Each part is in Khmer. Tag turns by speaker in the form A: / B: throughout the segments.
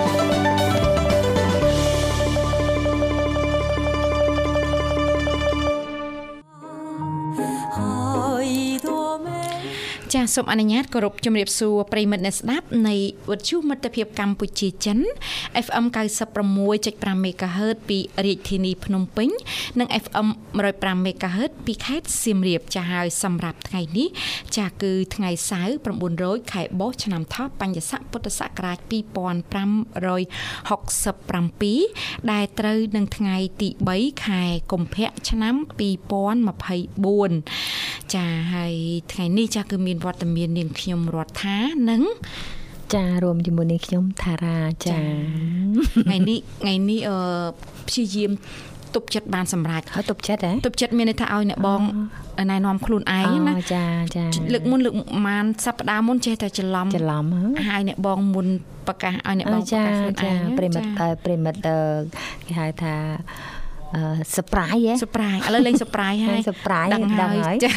A: ចាសសូមអនុញ្ញាតគោរពជំរាបសួរប្រិយមិត្តអ្នកស្ដាប់នៃវិទ្យុមិត្តភាពកម្ពុជាចិន FM 96.5 MHz ពីរាជធានីភ្នំពេញ និង FM 105 MHz ពីខេត្តសៀមរាបចាសហើយសម្រាប់ថ្ងៃនេះចាសគឺថ្ងៃសៅរ៍900ខែបោះឆ្នាំថោះបញ្ញស័កពុទ្ធសករាជ2567ដែលត្រូវនឹងថ្ងៃទី3ខែកុម្ភៈឆ្នាំ2024ចាសហើយថ្ងៃនេះចាសគឺមានវត្តមាននាងខ្ញុំរដ្ឋានិង
B: ចារួមជាមួយនេះខ្ញុំថារាចា
A: ថ្ងៃនេះថ្ងៃនេះអឺព្យាយាមទប់ចិត្តបានសម្រេច
B: ហើយទុកចិត្តហ៎
A: ទប់ចិត្តមានន័យថាឲ្យអ្នកបងណែនាំខ្លួនឯងណា
B: អូចាចា
A: លើកមុនលើកម៉ានសប្តាហ៍មុនចេះតែច្រឡំ
B: ច្រឡំហ៎
A: ហើយអ្នកបងមុនប្រកាសឲ្យអ្នកប
B: អូ
A: ងប្រ
B: ចា
A: កាសខ្លួន
B: ចា
A: ឯង
B: ប្រិមិត្តអឺប្រិមិត្តអឺគេហៅថាអឺ surprise ហ៎
A: សុប្រាយឥឡូវលេងសុប្រាយហើយ
B: surprise
A: ដឹង
B: ដឹង
A: ហើ
B: ហើយ
A: យចា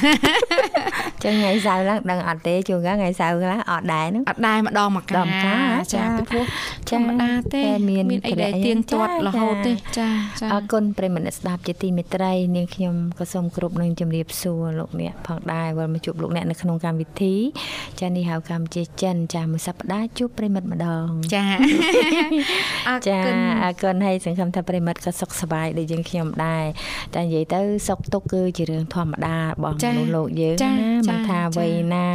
B: ចឹងថ្ងៃសៅរ៍ឡើងដឹងអត់ទេជួនកាលថ្ងៃសៅរ៍ខ្លះអត់ដែរហ្នឹង
A: អត់ដែរម្ដងមក
B: ម្ដ
A: កា
B: ងមកកាល
A: ចា
B: ចា
A: ពីព្រោះធ
B: ចា
A: ម្មតាទេ
B: តែមាន
A: មានអីដែល
B: កលៈ
A: ទៀងទាត់
B: ចា
A: រហូតទេ
B: ចា
A: ចាចា
B: អរគុណប្រិមិត្តអ្នកស្ដាប់ជាទីមេត្រីនាងខ្ញុំក៏សូមគោរពនឹងជំរាបសួរលោកអ្នកផងដែរវិលមកជួបលោកអ្នកនៅក្នុងកម្មវិធីចានេះហៅកម្មជាចិនចាមួយសប្ដាហ៍ជួបប្រិមិត្តម្ដង
A: ចាអរ
B: ចា
A: គុណ
B: អរគុណហើយសង្ឃឹមថាប្រិមិត្តក៏សុខសប្បាយដូចយើងខ្ញុំដែរតែនិយាយទៅសុខទុក្ខគឺជារឿងធម្មតារបស់
A: ចា
B: មនុស្សលោកយើង
A: ចា
B: ណា
A: ចា
B: មិនថា
A: ចា
B: វ័យណា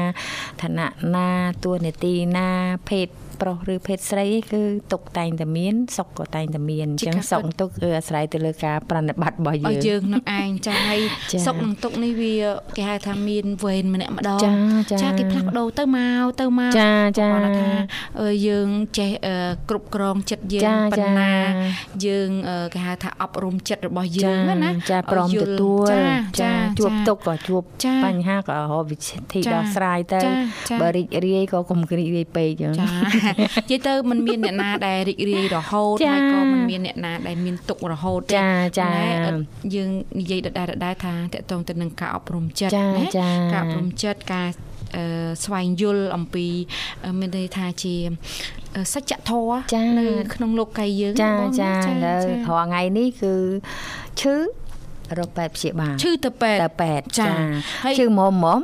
B: ឋានៈណាទួលនេតិណាភេទប្រុសឬភេទស្រីអីគឺទុក្ខតែងតែមានសុខក៏តែងតែមានអញ្ចឹងសុខនិងទុក្ខគឺអាស្រ័យទៅលើការប្រណិប័តរបស់យើ
A: ឲ្យ
B: ង
A: យើងនឹងឯងចាហើយ
B: ចា
A: សុកនឹងទុកនេះវាគេហៅថាមានវេនម្នាក់ម្ដង
B: ចាចា
A: គេផ្លាស់ប្ដូរទៅមកទៅមក
B: ចាចា
A: គាត់ថាអឺយើងចេះអឺគ្រប់គ្រងចិត្តយើ
B: ចា
A: ងប៉ុណ្ណា
B: ចា
A: យើងអឺគេហៅថាអប់រំចិត្តរបស់យើ
B: ចា
A: ងណា
B: ចា
A: ឲ្យ
B: ព្រម
A: យល់
B: ទទួល
A: ចា
B: ចា
A: ចា
B: ជួប
A: ចា
B: ទុកខក៏ជួប
A: ចា
B: បញ្ហាក៏រកវិធី
A: ចា
B: ដោះស្រាយទៅ
A: ចាចា
B: បើរីករាយក៏កុំគ្រីករាយពេកចឹង
A: ចា និយាយទៅมันមានអ្នកណាដែលរីករាយរហូត
B: ចា
A: ហើយក៏มันមានអ្នកណាដែលមានទុក្ខរហូតទេ
B: ចាចា
A: ប៉ុន្តែឥតយើងនិយាយដដែលដដែលថាតកតងទៅនឹងការអប់រំចិត្ត
B: ចា
A: ណា
B: ចា
A: ការអប់រំចិត្តការអឺស្វែងយល់អំពីអឺមានន័យថាជាអឺសច្ចធម៌
B: ចា
A: នៅក្នុងលោកកាយយើង
B: ចា
A: បង
B: ចាឥ
A: ចា
B: ឡូវរាល់ថ្ងៃនេះគឺឈឺរកពេទ្យព្យាបាល
A: ឈឺទៅពេទ្យ
B: តែពេទ្យ
A: ចា
B: ចា
A: ហើយ
B: ឈឺមុំមុំ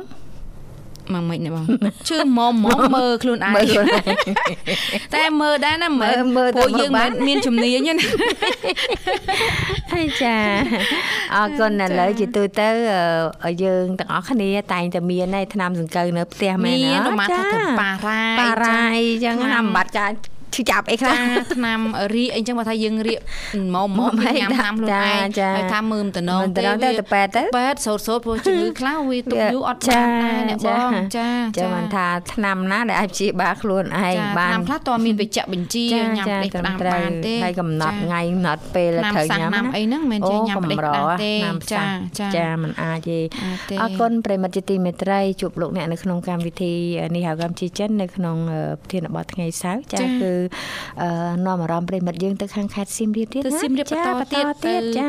A: មកមិននេះបង ឈឺមុំហ្មង មើលខ្លួនឯង
B: មើលខ្លួនឯ ង
A: តែមើលដែរណាមើល
B: មើលទៅ
A: ពួកយើង
B: មើលបា
A: មិន នមានជំនាញទេណា
B: ហើយចា អរគុណឥ
A: ចា
B: ឡូវជាទូទៅអឺយើងទាំងអស់គ្នាតែងតែមានឯថ្នាំសង្កូវនៅផ្ទះមែន
A: មាន
B: អត់
A: រមាថាថ្នាំប៉ារ៉ាយ
B: បារាយចឹងណា
A: ថ្នាំ
B: មិនបាត់ចាឈឺចាប់អីខ្លះ
A: ចាថ្នាំរីកអីចឹងបើថាយើងរៀកម៉
B: ម៉
A: ម
B: ម
A: ម៉ម
B: ហើយ
A: ញ៉ាំថ្នាំខ្លួនឯង
B: ចាចា
A: ហើយថាមើលមិនតំណង
B: មិនតំណងទេ
A: វា
B: ទៅពេទ្យទៅ
A: ពេទ្យសូត្រសូត្រព្រោះជំងឺខ្លះវាទុកយូរអត់
B: ចា
A: បានដែរអ្នកប
B: ចា
A: ងចា
B: ចាមិនថាឆ្នាំណាដែលអាចព្យាបាលខ្លួនឯង
A: ចា
B: បាន
A: ថ្នាំខ្លះតើមានវេជ្ជបញ្ជា
B: ចា
A: ញ៉ាំ
B: ចា
A: ផ្ដេសផ្ដាំ
B: ត្រឹម
A: បានទេ
B: ហើយកំណត់
A: ចា
B: ថ្ងៃកំណត់ពេល
A: ថ្នាំ
B: ត្រូវ
A: សាំង
B: ញ៉ាំ
A: ថ្នាំអីហ្នឹងមិនចេះញ៉ាំផ្ដេសផ្ដាំទេ
B: ថ្នាំ
A: ចា
B: សាំង
A: ចា
B: ចាមិនអាចទេ
A: អាចទេ
B: អរគុណប្រិមិត្តជាទីមេត្រីជួបលោកអ្នកនៅក្នុងកម្មវិធីនេះហៅកម្មជាចិននៅក្នុងអឺប្រធានបទថ្ងៃសៅរ៍ចា
A: ចា៎
B: គឺអឺនាំអារម្មណ៍ប្រិមិត្តយើងទៅខាងខេត្តសៀមរាបទៀត
A: ទៅ
B: ណា
A: សៀមរាប
B: ចា
A: បន្តទៀត
B: ទៀត
A: ទៅ
B: ចា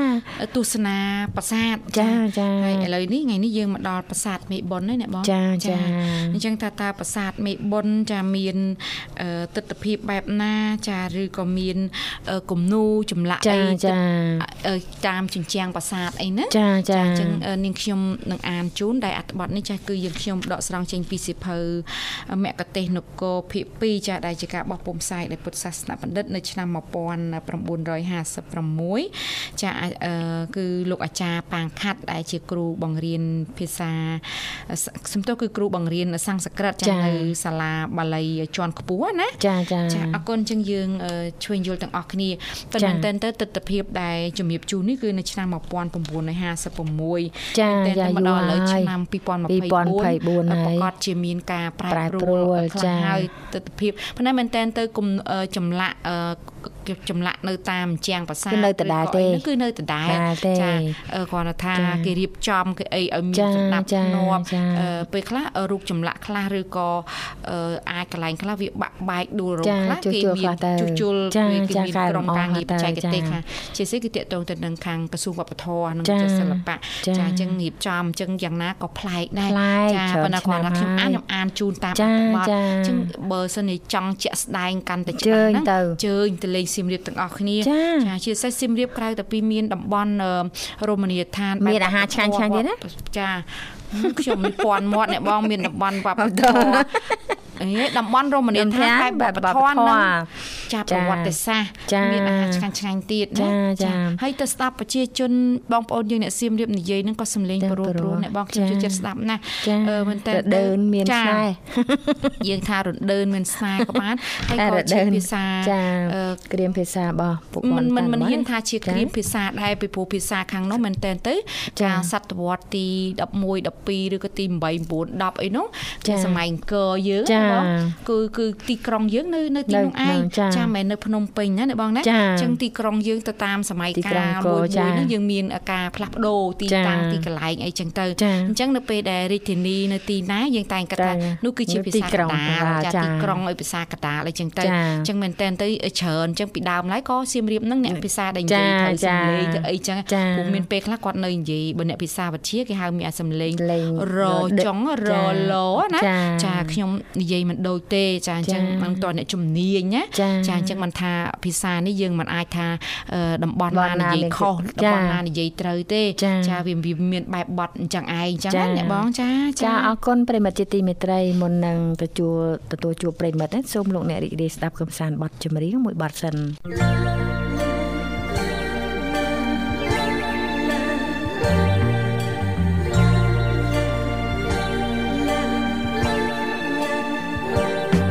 A: ទស្សនាប្រាសាទ
B: ចាចា
A: ហើយឥឡូវនេះថ្ងៃនេះយើងមកដល់ប្រាសាទមេបុនហើយអ្នកបង
B: ចាចា
A: អញ្ចឹងថាតើប្រាសាទមេបុនចាមានអឺទស្សនភាពបែបណាចាឬក៏មានអឺគំនូរចម្លាក់អី
B: ចា
A: ទិដ្ឋ
B: ចា
A: អឺតាមជញ្ជាំងប្រាសាទអីណា
B: ចាចា
A: អញ្ចឹងអឺនាងខ្ញុំនឹងអានជូនដែលអត្ថបទនេះចាស់គឺយើងខ្ញុំដកស្រង់ចេញពីសិភៅមគ្គទេសនគរភាគ2ចាស់ដែលជាការបោះពុម្ពផ្សាយដោយពុទ្ធសាសនបណ្ឌិតនៅឆ្នាំ1956ចាស់អាចអឺគឺលោកអាចារ្យប៉ាងខាត់ដែលជាគ្រូបង្រៀនភាសា សំទោសគឺគ្រូបង្រៀនសង្ស្ក្រឹតចានៅសាលាបាលីជាន់ខ្ពស់ណា
B: ចាចា
A: ចាអរគុណចឹងយើងអឺជួយយល់ទាំងអស់គ្នាប៉ុ
B: ចា
A: ន្តែមែនទែនទៅទស្សនវិជ្ជាដែលជំរាបជូននេះគឺនៅឆ្នាំ1956
B: ចា
A: តែ
B: ចា
A: នមក
B: យូរ
A: ដល់ឥឡូវ
B: ហើយ
A: ឆ្នាំ
B: 2024
A: 2024
B: ហើយ
A: ប្រកាសជាមានការប្រែ
B: ប្រែ
A: ប្រួ
B: ប្រួ
A: ល
B: ល
A: ខ្លះ
B: ចា
A: ហើយទស្សនវិជ្ជាប៉ុន្តែមែនទែនទៅគុំអឺចម្លាក់អឺ ចម្លាក់នៅតាមជាងប្រាសាទ
B: គឺនៅដដែលទេ
A: ឬក៏អីហ្នឹងគឺនៅដដែល
B: ដដែលទេ
A: អឺគ្រាន់តែថា
B: ចា
A: គេរៀបចំគេអីឲ្យមា
B: ចា
A: នសណ្ដាប់
B: ចា
A: ធ្នាប់
B: ចា
A: អឺពេលខ្លះអឺរូបចម្លាក់ខ្លះឬក៏អឺអាចកន្លែងខ្លះវាបាក់បែកដួលរោម
B: ចា
A: ខ្លះ
B: ជួស
A: គេ
B: ជុល
A: មាន
B: ខ្លះទៅចា
A: ជួសជុលពេលគេ
B: ចា
A: មានក
B: ែល
A: ក្រុម
B: ម្អ
A: ការងារបច្ចេក
B: ទៅ
A: ទេស
B: ចា
A: ខ្លះជាពិសេសគឺតាក់ទងទៅនឹងខាងក្រសួងវប្បធម៌និង
B: ចា
A: ជាសិល្បៈ
B: ចា
A: ចាអញ្ចឹងរៀបចំអញ្ចឹងយ៉ាងណាក៏ប្លែកដែរ
B: ខ្លាយ
A: ចា
B: ច្រើន
A: ប៉ុន្តែគ្រា
B: ឆ្នាំ
A: ន់តែខ្ញុំ
B: ហើយ
A: អានខ្ញុំអានជូនតាម
B: ចា
A: អត្ថបទ
B: ចា
A: ចឹងបើសិនជាចង់ជាក់ស្ដែងកាន់តែ
B: ជើ
A: ច្បាស់
B: ញ
A: ហ្នឹង
B: ទៅ
A: ជើញទៅលេងសៀមរាបទាំងអស់គ្នា
B: ចា
A: ជាពិសេសសៀមរាបក្រៅតែពីមានតំបន់អឺរមណីយដ្ឋាន
B: មាន
A: បែប
B: អាហារឆ្ងាញ់ៗទៀតណា
A: ចាហឹមខ្ញុំមានពាន់មាត់អ្នកបងមានតំបន់វប្បធម៌អេតំបន់រមណីយដ្ឋានបែបវប្បធម៌ហ្នឹងចា
B: ចា
A: ប្រវត្តិសាស្ត្រ
B: ចា
A: មានអាហារឆ្ងាញ់ឆ្ងាញ់ៗទៀតណា
B: ចាចា
A: ហើយទៅស្ដាប់ប្រជាជនបងប្អូនយើងអ្នកសៀមរាបនិយាយហ្នឹងក៏សំលេង
B: ទាំង
A: ប្រូ
B: ប្រូ
A: ប្រូអ្នកបងខ្ញុំ
B: ចា
A: ចូលចិត្តស្ដាប់ណាស់
B: ចា
A: អឺមែនតើ
B: រដើនមាន
A: ចា
B: ស្នេហ៍
A: យើងថារដើនមានស្នេហ៍ក៏ បានហើយ
B: រ
A: ក៏
B: ដូ
A: ជា
B: វ
A: ភាសា
B: ចា
A: អឺ
B: ក្រៀមភាសារបស់ពួក
A: មិន
B: គាត់
A: មិន
B: តារប
A: មិន
B: ស់
A: ហ៊ានថាជា
B: ចា៎
A: គ្រាមភាសាដែរពីព្រោះភាសាខាងនោះមែនតើទៅ
B: ចា៎
A: ការសតវត្សរ៍ទី11 12ឬក៏ទី8 9 10អីនោះ
B: ចា៎
A: គឺសម័យអង្គរយើង
B: ចា៎
A: ណាបងគឺគឺទីក្រុងយើងនៅនៅទីនោះ
B: នៅ
A: ឯង
B: ចា៎
A: ចាមិនមែននៅភ្នំពេញណាអ្នកបងណា
B: ចា៎
A: អញ្ចឹងទីក្រុងយើងទៅតាមសម័យ
B: ទីក្រុ
A: កា
B: ង
A: ល
B: អង្គរ
A: មួយមួយ
B: ចា៎
A: ហ្នឹងយើងមានការផ្លាស់ប្ដូរទី
B: ចា៎
A: តាំងទីកន្លែងអីចឹងទៅ
B: ចា៎
A: អញ្ចឹងនៅពេលដែលរាជធានីនៅទីណាយើងតែងគិតថា
B: ចា៎
A: នោះគឺជា
B: នៅ
A: ភា
B: ទី
A: សាក
B: ក្រុង
A: ណ្ដាល
B: ចា៎
A: ចាទីក្រុងឲ្យភាសាកណ្ដាលអីចឹងទៅ
B: ចា៎
A: អញ្ចឹងមែនតើទៅច្រើនអញ្ចឹងពីដើមឡើយក៏សៀមរាបហ្នឹងអ្នកភាសាដែល និ
B: ចា
A: យាយ
B: ចា
A: ត្រូវសំឡេងទៅអីចឹង
B: ចា
A: ព្រោះមានពេលខ្លះគាត់នៅនិយាយបើអ្នកភាសាវិទ្យាគេហៅមានអាសំឡេង
B: លេង
A: រ
B: ដឹក
A: ចុងរ
B: ចា
A: លណា
B: ចា
A: ចាខ្ញុំនិយាយមិនដូចទេចាអញ្ចឹង
B: ចា
A: មិនតអ្នកជំនាញណា
B: ចា
A: ចាអញ្ចឹងមិនថាភាសានេះយើងមិនអាចថាអឺតំបន់
B: តំបន់
A: ណានិយាយ
B: ណា
A: ខុសតំ
B: ចា
A: បន់ណានិយាយត្រូវទេ
B: ចា
A: វាវាមានបែបបត់អញ្ចឹងឯងអញ្ចឹង
B: ចា
A: ណាអ្នកបងចា
B: ចាអរគុណប្រិយមិត្តជាទីមេត្រីមុននឹងទទួលទទួលជួបប្រិយមិត្តហ្នឹងសូមលោកអ្នករីករាយស្ដាប់កំសាន្តបទចម្រៀងមួយបទសិន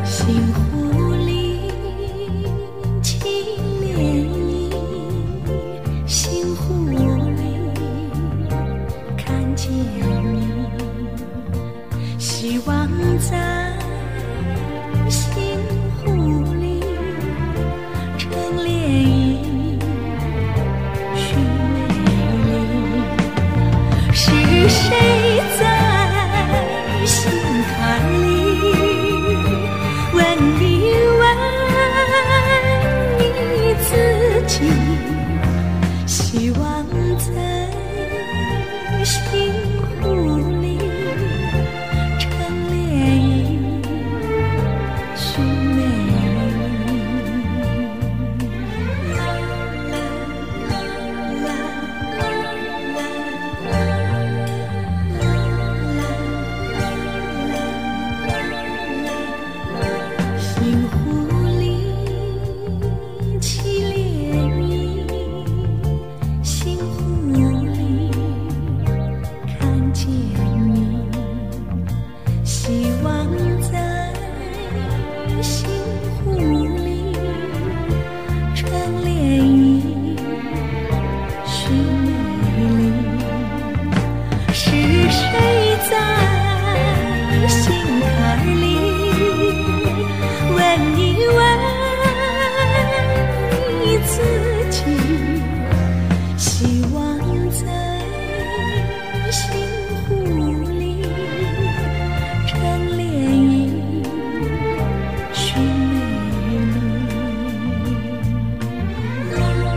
C: 星湖里轻涟漪，星湖里看见你，希望在星湖里成涟漪，寻美丽。是谁在心坎里问一问你自己？希望在心湖里成涟漪，寻美丽。啦啦啦。星湖里起涟漪，星湖里看见你，希望在星湖里成涟漪，寻美丽。是谁在心坎里问一问你自己？希望在心湖里成涟漪，寻美丽。啦啦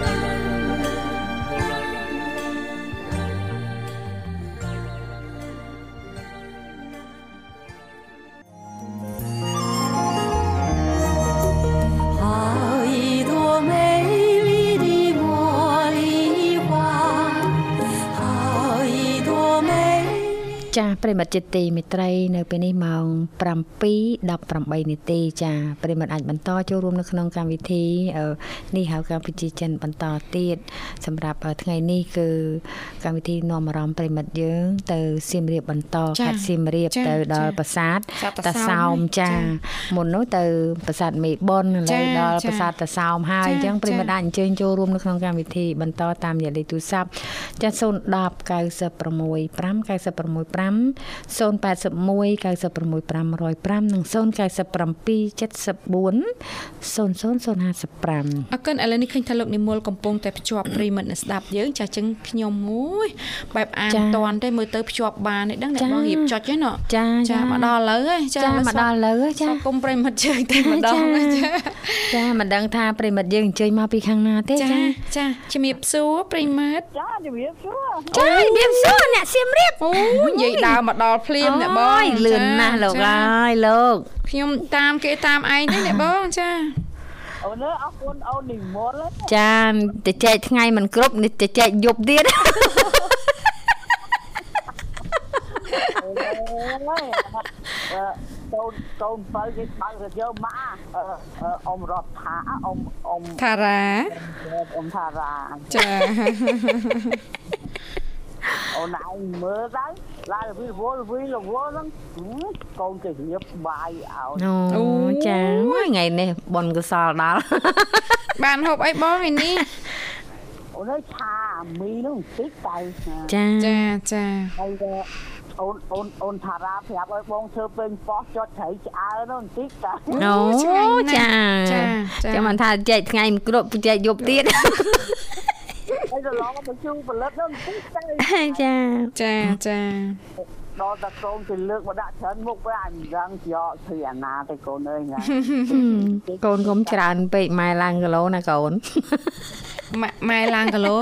C: 啦啦。好一朵美丽的茉莉花，好一朵美丽。
B: ចាប្រិមត្តជាទីមេត្រីនៅពេលនេះម៉ោង7:18នាទីចាប្រិមត្តអាចបន្តចូលរួមនៅក្នុងកម្មវិធីអឺនេះហៅកម្ពុជាចិនបន្តទៀតសម្រាប់អឺថ្ងៃនេះគឺកម្មវិធីនាំអារម្មណ៍ប្រិមត្តយើង ទៅសៀមរាបបន្ត
A: ចា
B: ខាត់សៀមរាប
A: ចា
B: ទៅដល់
A: ចា
B: ប្រាសាទតា
A: ប្រាសាទតា
B: សោ
A: សោ
B: ម
A: ម
B: ចា
A: ចា
B: មុននោះទៅប្រាសាទមេបុនឥឡូវ
A: ចា
B: ដល់
A: ចា
B: ប្រាសាទតាសោមហើយអ
A: ចា
B: ញ្ចឹងប្រិមត្ត
A: ចា
B: អាចអញ្ជើញចូលរួមនៅក្នុងកម្មវិធីបន្តតាមរយៈលេខទូរស័ព្ទចា010 96 5 96 5 081 96505និង097 74 00055
A: អរគុណឥឡូវនេះឃើញថាលោកនិមលកំពុងតែភ្ជាប់ប្រិមិត្តអ្នកស្ដាប់យើងចាស់ចឹងខ្ញុំមួយបែបអាន
B: ចា៎
A: តន់ទេមើលទៅភ្ជាប់បានទេដឹងតែ
B: ចា៎
A: បងរៀបចុចហ្នឹងណ៎
B: ចា៎
A: ចា
B: ចា៎
A: មកដល់លើហើយ
B: ចាមកដល់លើចា
A: ចាសូមគុំប្រិមិត្តជើង តែម្ដងណាចា
B: ចាមិនដឹងថាប្រិមិត្តយើងអញ្ជើញមកពីខាងណាទេ
A: ចា
B: ចា
A: ចាជំរាបសួរប្រិមិត្ត
D: ចាជំរាបសួរ
B: ចាជំរាបសួរអ្នកសៀមរាប
A: អូនិយាយដើមមកដល់ភ្លាមអ្នកបង
B: យលឿនណាស់លោកអ
A: ចា
B: ើយលោក
A: ខ្ញុំតាមគេតាមឯងទេអ្នកបងចា
D: អូនអើអរគុណអូននិមលហើយ
B: ចាតិចែកថ្ងៃមិនគ្រប់នេះតិចែកយប់ទៀត
D: អូយអឺកូនកូនបើគេបើទៅយកមកអឺអឺអ៊ំរត់ថាអ៊ំអ៊ំ
A: ថារា
D: អ៊ំថារា
A: ចា
D: អូនឯងមើលទៅឡើងវិលវល់វិលវល់ហ្នឹងហ៊ឹមកូនគេរៀបបាយឲ្យ
B: អូចាថ្ងៃនេះបនកសលដល់
A: បានហូបអីបងឯនេះ
D: អូនឯងឆាមីហ្នឹងតិចតែណា
B: ចា
A: ចាចា
D: ហើយក៏អូនអូនអូនថារាប្រាប់ឲ្យបងធ្វើពេញប៉ោះចុចត្រីឆ្អើហ្នឹងតិចតែ
B: អូ
A: ឆ្ងាញ់
B: ចា
A: ណាស់ចាចា
B: ចាំមិនថាចែកថ្ងៃមិនគ្រប់ចែកយប់ទៀត
D: ហើយដល់ឡងមកជួផលិតហ្នឹងតិចតែ
B: ចា
A: ចាចា
D: ដល់តែកូនគេលើកមកដាក់ច្រើនមុខវាអញ្ចឹងជាអត់ធ្វើអាណាទេកូនអើយណា
B: កូនកុំច្រើនពេកម៉ែឡើងគីឡូណាកូន
A: ម៉ាក់ម៉ែឡើងកាឡូ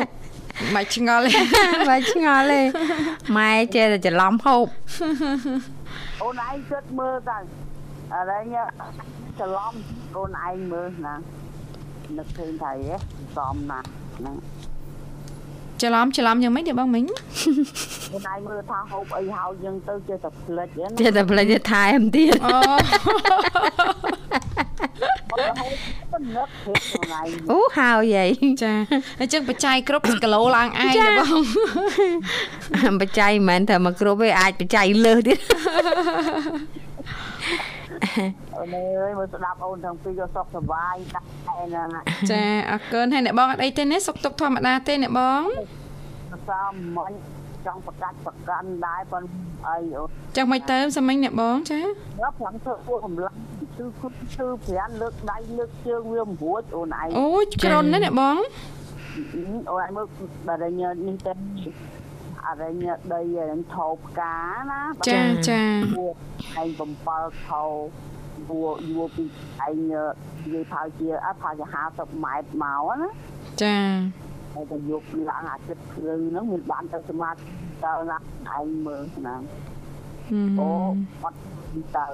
A: បាច់ឆ្ងល់ទេ
B: បើឆ្ងល់ទេ ម៉ែចេះតែច្រឡំហូប
D: អូនឯងគិតមើលតើអរញច្រឡំកូនឯងមើលណានឹកឃើញថាអីសំណាស់ណា
A: ច្រឡំច្រឡំយ៉ាងម៉េចទេបងមិញ
D: កូនឯងមើលថាហូបអីហើយយើងទៅចេះតែផ្លិចហ្នឹង
B: ចេះតែផ្លេចថែមទៀត
A: អូ
D: បើហូបទៅនឹកឃើញកូនឯង
B: អូហើយយាយ
A: ចាអញ្ចឹងបច្ច័យគ្រប់គីឡូឡើងឯងទេបង
B: បច្ច័យមិនមែនតែមកគ្រប់ទេអាចបច្ច័យលើសទៀត
D: អូនអើយមើលស្ដាប់អូនទាំងពីរក៏សុខសប្បាយតែណាណា
A: ចាអរគុណហើយអ្នកបងអត់អីទេណាសុខទុក្ខធម្មតាទេអ្នកបង
D: សំមិនចង់ប្រកាច់ប្រកាន់ដែរប៉ុនអីអូន
A: ចឹងមិនទៅសាមិញអ្នកបងចា
D: ដល់ខាងធ្វើពួកកម្លាំងគឺគឺគឺប្រានលើកដៃលើកជើងវាមិនរួចអូនឯង
A: អូយក្រុនណាស់អ្នកបង
D: អូនឯងមើលបរិញ្ញានេះតែអរិញ្ញាដីហ្នឹងថោផ្កាណា
A: ចាចា
D: ពួកឯងបំពេលថោពួកយួរពីឯងនិយាយថាជាអត់ថាជា50ម៉ែត្រមកណា
A: ចា
D: ហើយទៅយកឡើងអាចិត្តភ្លឺហ្នឹងមានបានទៅសមាធិទៅណាឯងមើលណា
A: ហឹម
D: អូអត់ទីទៅ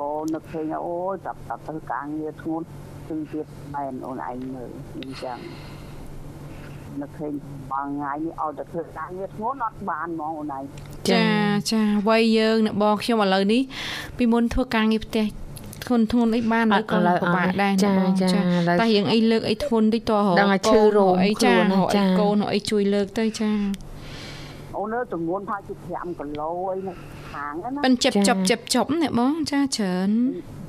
D: អូនឹកឃើញថាអូយចាប់តាប់ធ្វើការងារធ្ងន់គឺទៀតមែនអូនឯងមើលអញ្ចឹងនឹកឃើញបងថ្ងៃនេះឲ្យតែធ្វើការងារធ្ងន់អត់បានហ្មងអូនឯង
A: ចាចាវ័យយើងអ្នកបងខ្ញុំឥឡូវនេះពីមុនធ្វើការងារផ្ទះធ្ងន់ធ្ងន់អីបានឬក៏ពិបាកដែរអ្នកបងចា
B: ឡើយ
A: តែរឿងអីលើកអីធ្ងន់តិចតោះ
B: ដឹងឲ្យឈឺរោម
A: អីចា
B: ខ្លួនណា
A: រក
B: ចា
A: អីកូនរកអីជួយលើកទៅចា
D: អូននៅចំនួនថាជា5គីឡូអីហ្នឹងខាងហ្នឹង
A: ប៉ិ
D: ណា
A: នចិបចប់ចិបចប់អ្នកបងចាច្រើន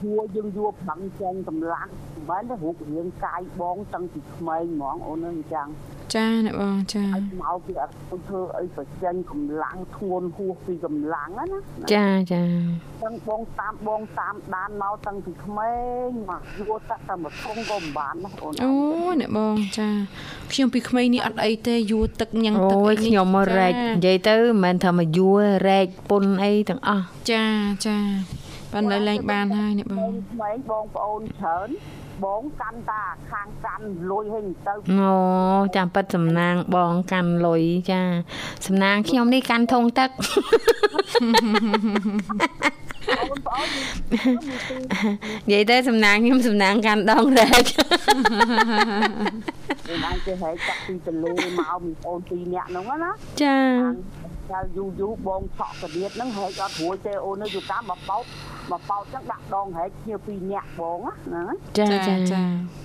D: យួរយើងយួរប្រាំងចែងកម្លាំងមិនមែនទេរូបរាងកាយបងតាំងពីក្មេងហ្មងអូនហ្នឹងអញ្ចឹង
A: ចាអ្នកបងចា
D: ឲ្យមកពីអត់ធ្វើអីប្រចេញកម្លាំងធ្ងន់ហួសពីកម្លាំងហ្នឹងណា
B: ចាចា
D: ទាំងបងតាមបងតាមដានមកតាំងពីក្មេងមកយល់តាក់តែមកធំក៏មិនបានណាអូន
A: អូយអ្នកបងចាខ្ញុំពីក្មេងនេះអត់អីទេយួរទឹកញ៉ាំងទឹក
B: អូយ
A: អីនេះ
B: ខ្ញុំមករែកនិយាយទៅមិនមែនថាមកយួររែកពុនអីទាំងអស់
A: ចាចាប៉ិននៅលែងបានហើយអ្នកបង
D: ក្មេងបងប្អូនច្រើនបងកាន់តាខាងកាន់លុយឲ្យទៅ
B: អូចាំប៉ិតសំនាងបងកាន់លុយចាសំនាងខ្ញុំនេះកាន់ធុងទឹក
D: បងប្អូន
B: និយាយទៅសំនាងខ្ញុំសំនាងកាន់ដងរែក
D: អូនឯងគេហែកតាក់ពីទន្លេមកមីប្អូនពីរនាក់ហ្នឹងណា
B: ចា
D: ចៅយូរយូរបងឆក់កាទៀតហ្នឹងហែកអត់រួចទេអូននៅយូរតាមមកបោក មកបោតចឹងដាក់ដងហែកគ្នាពីរនាក់បងណាហ្នឹងហើយ
E: ចា
A: ចា
E: ចា
A: ចា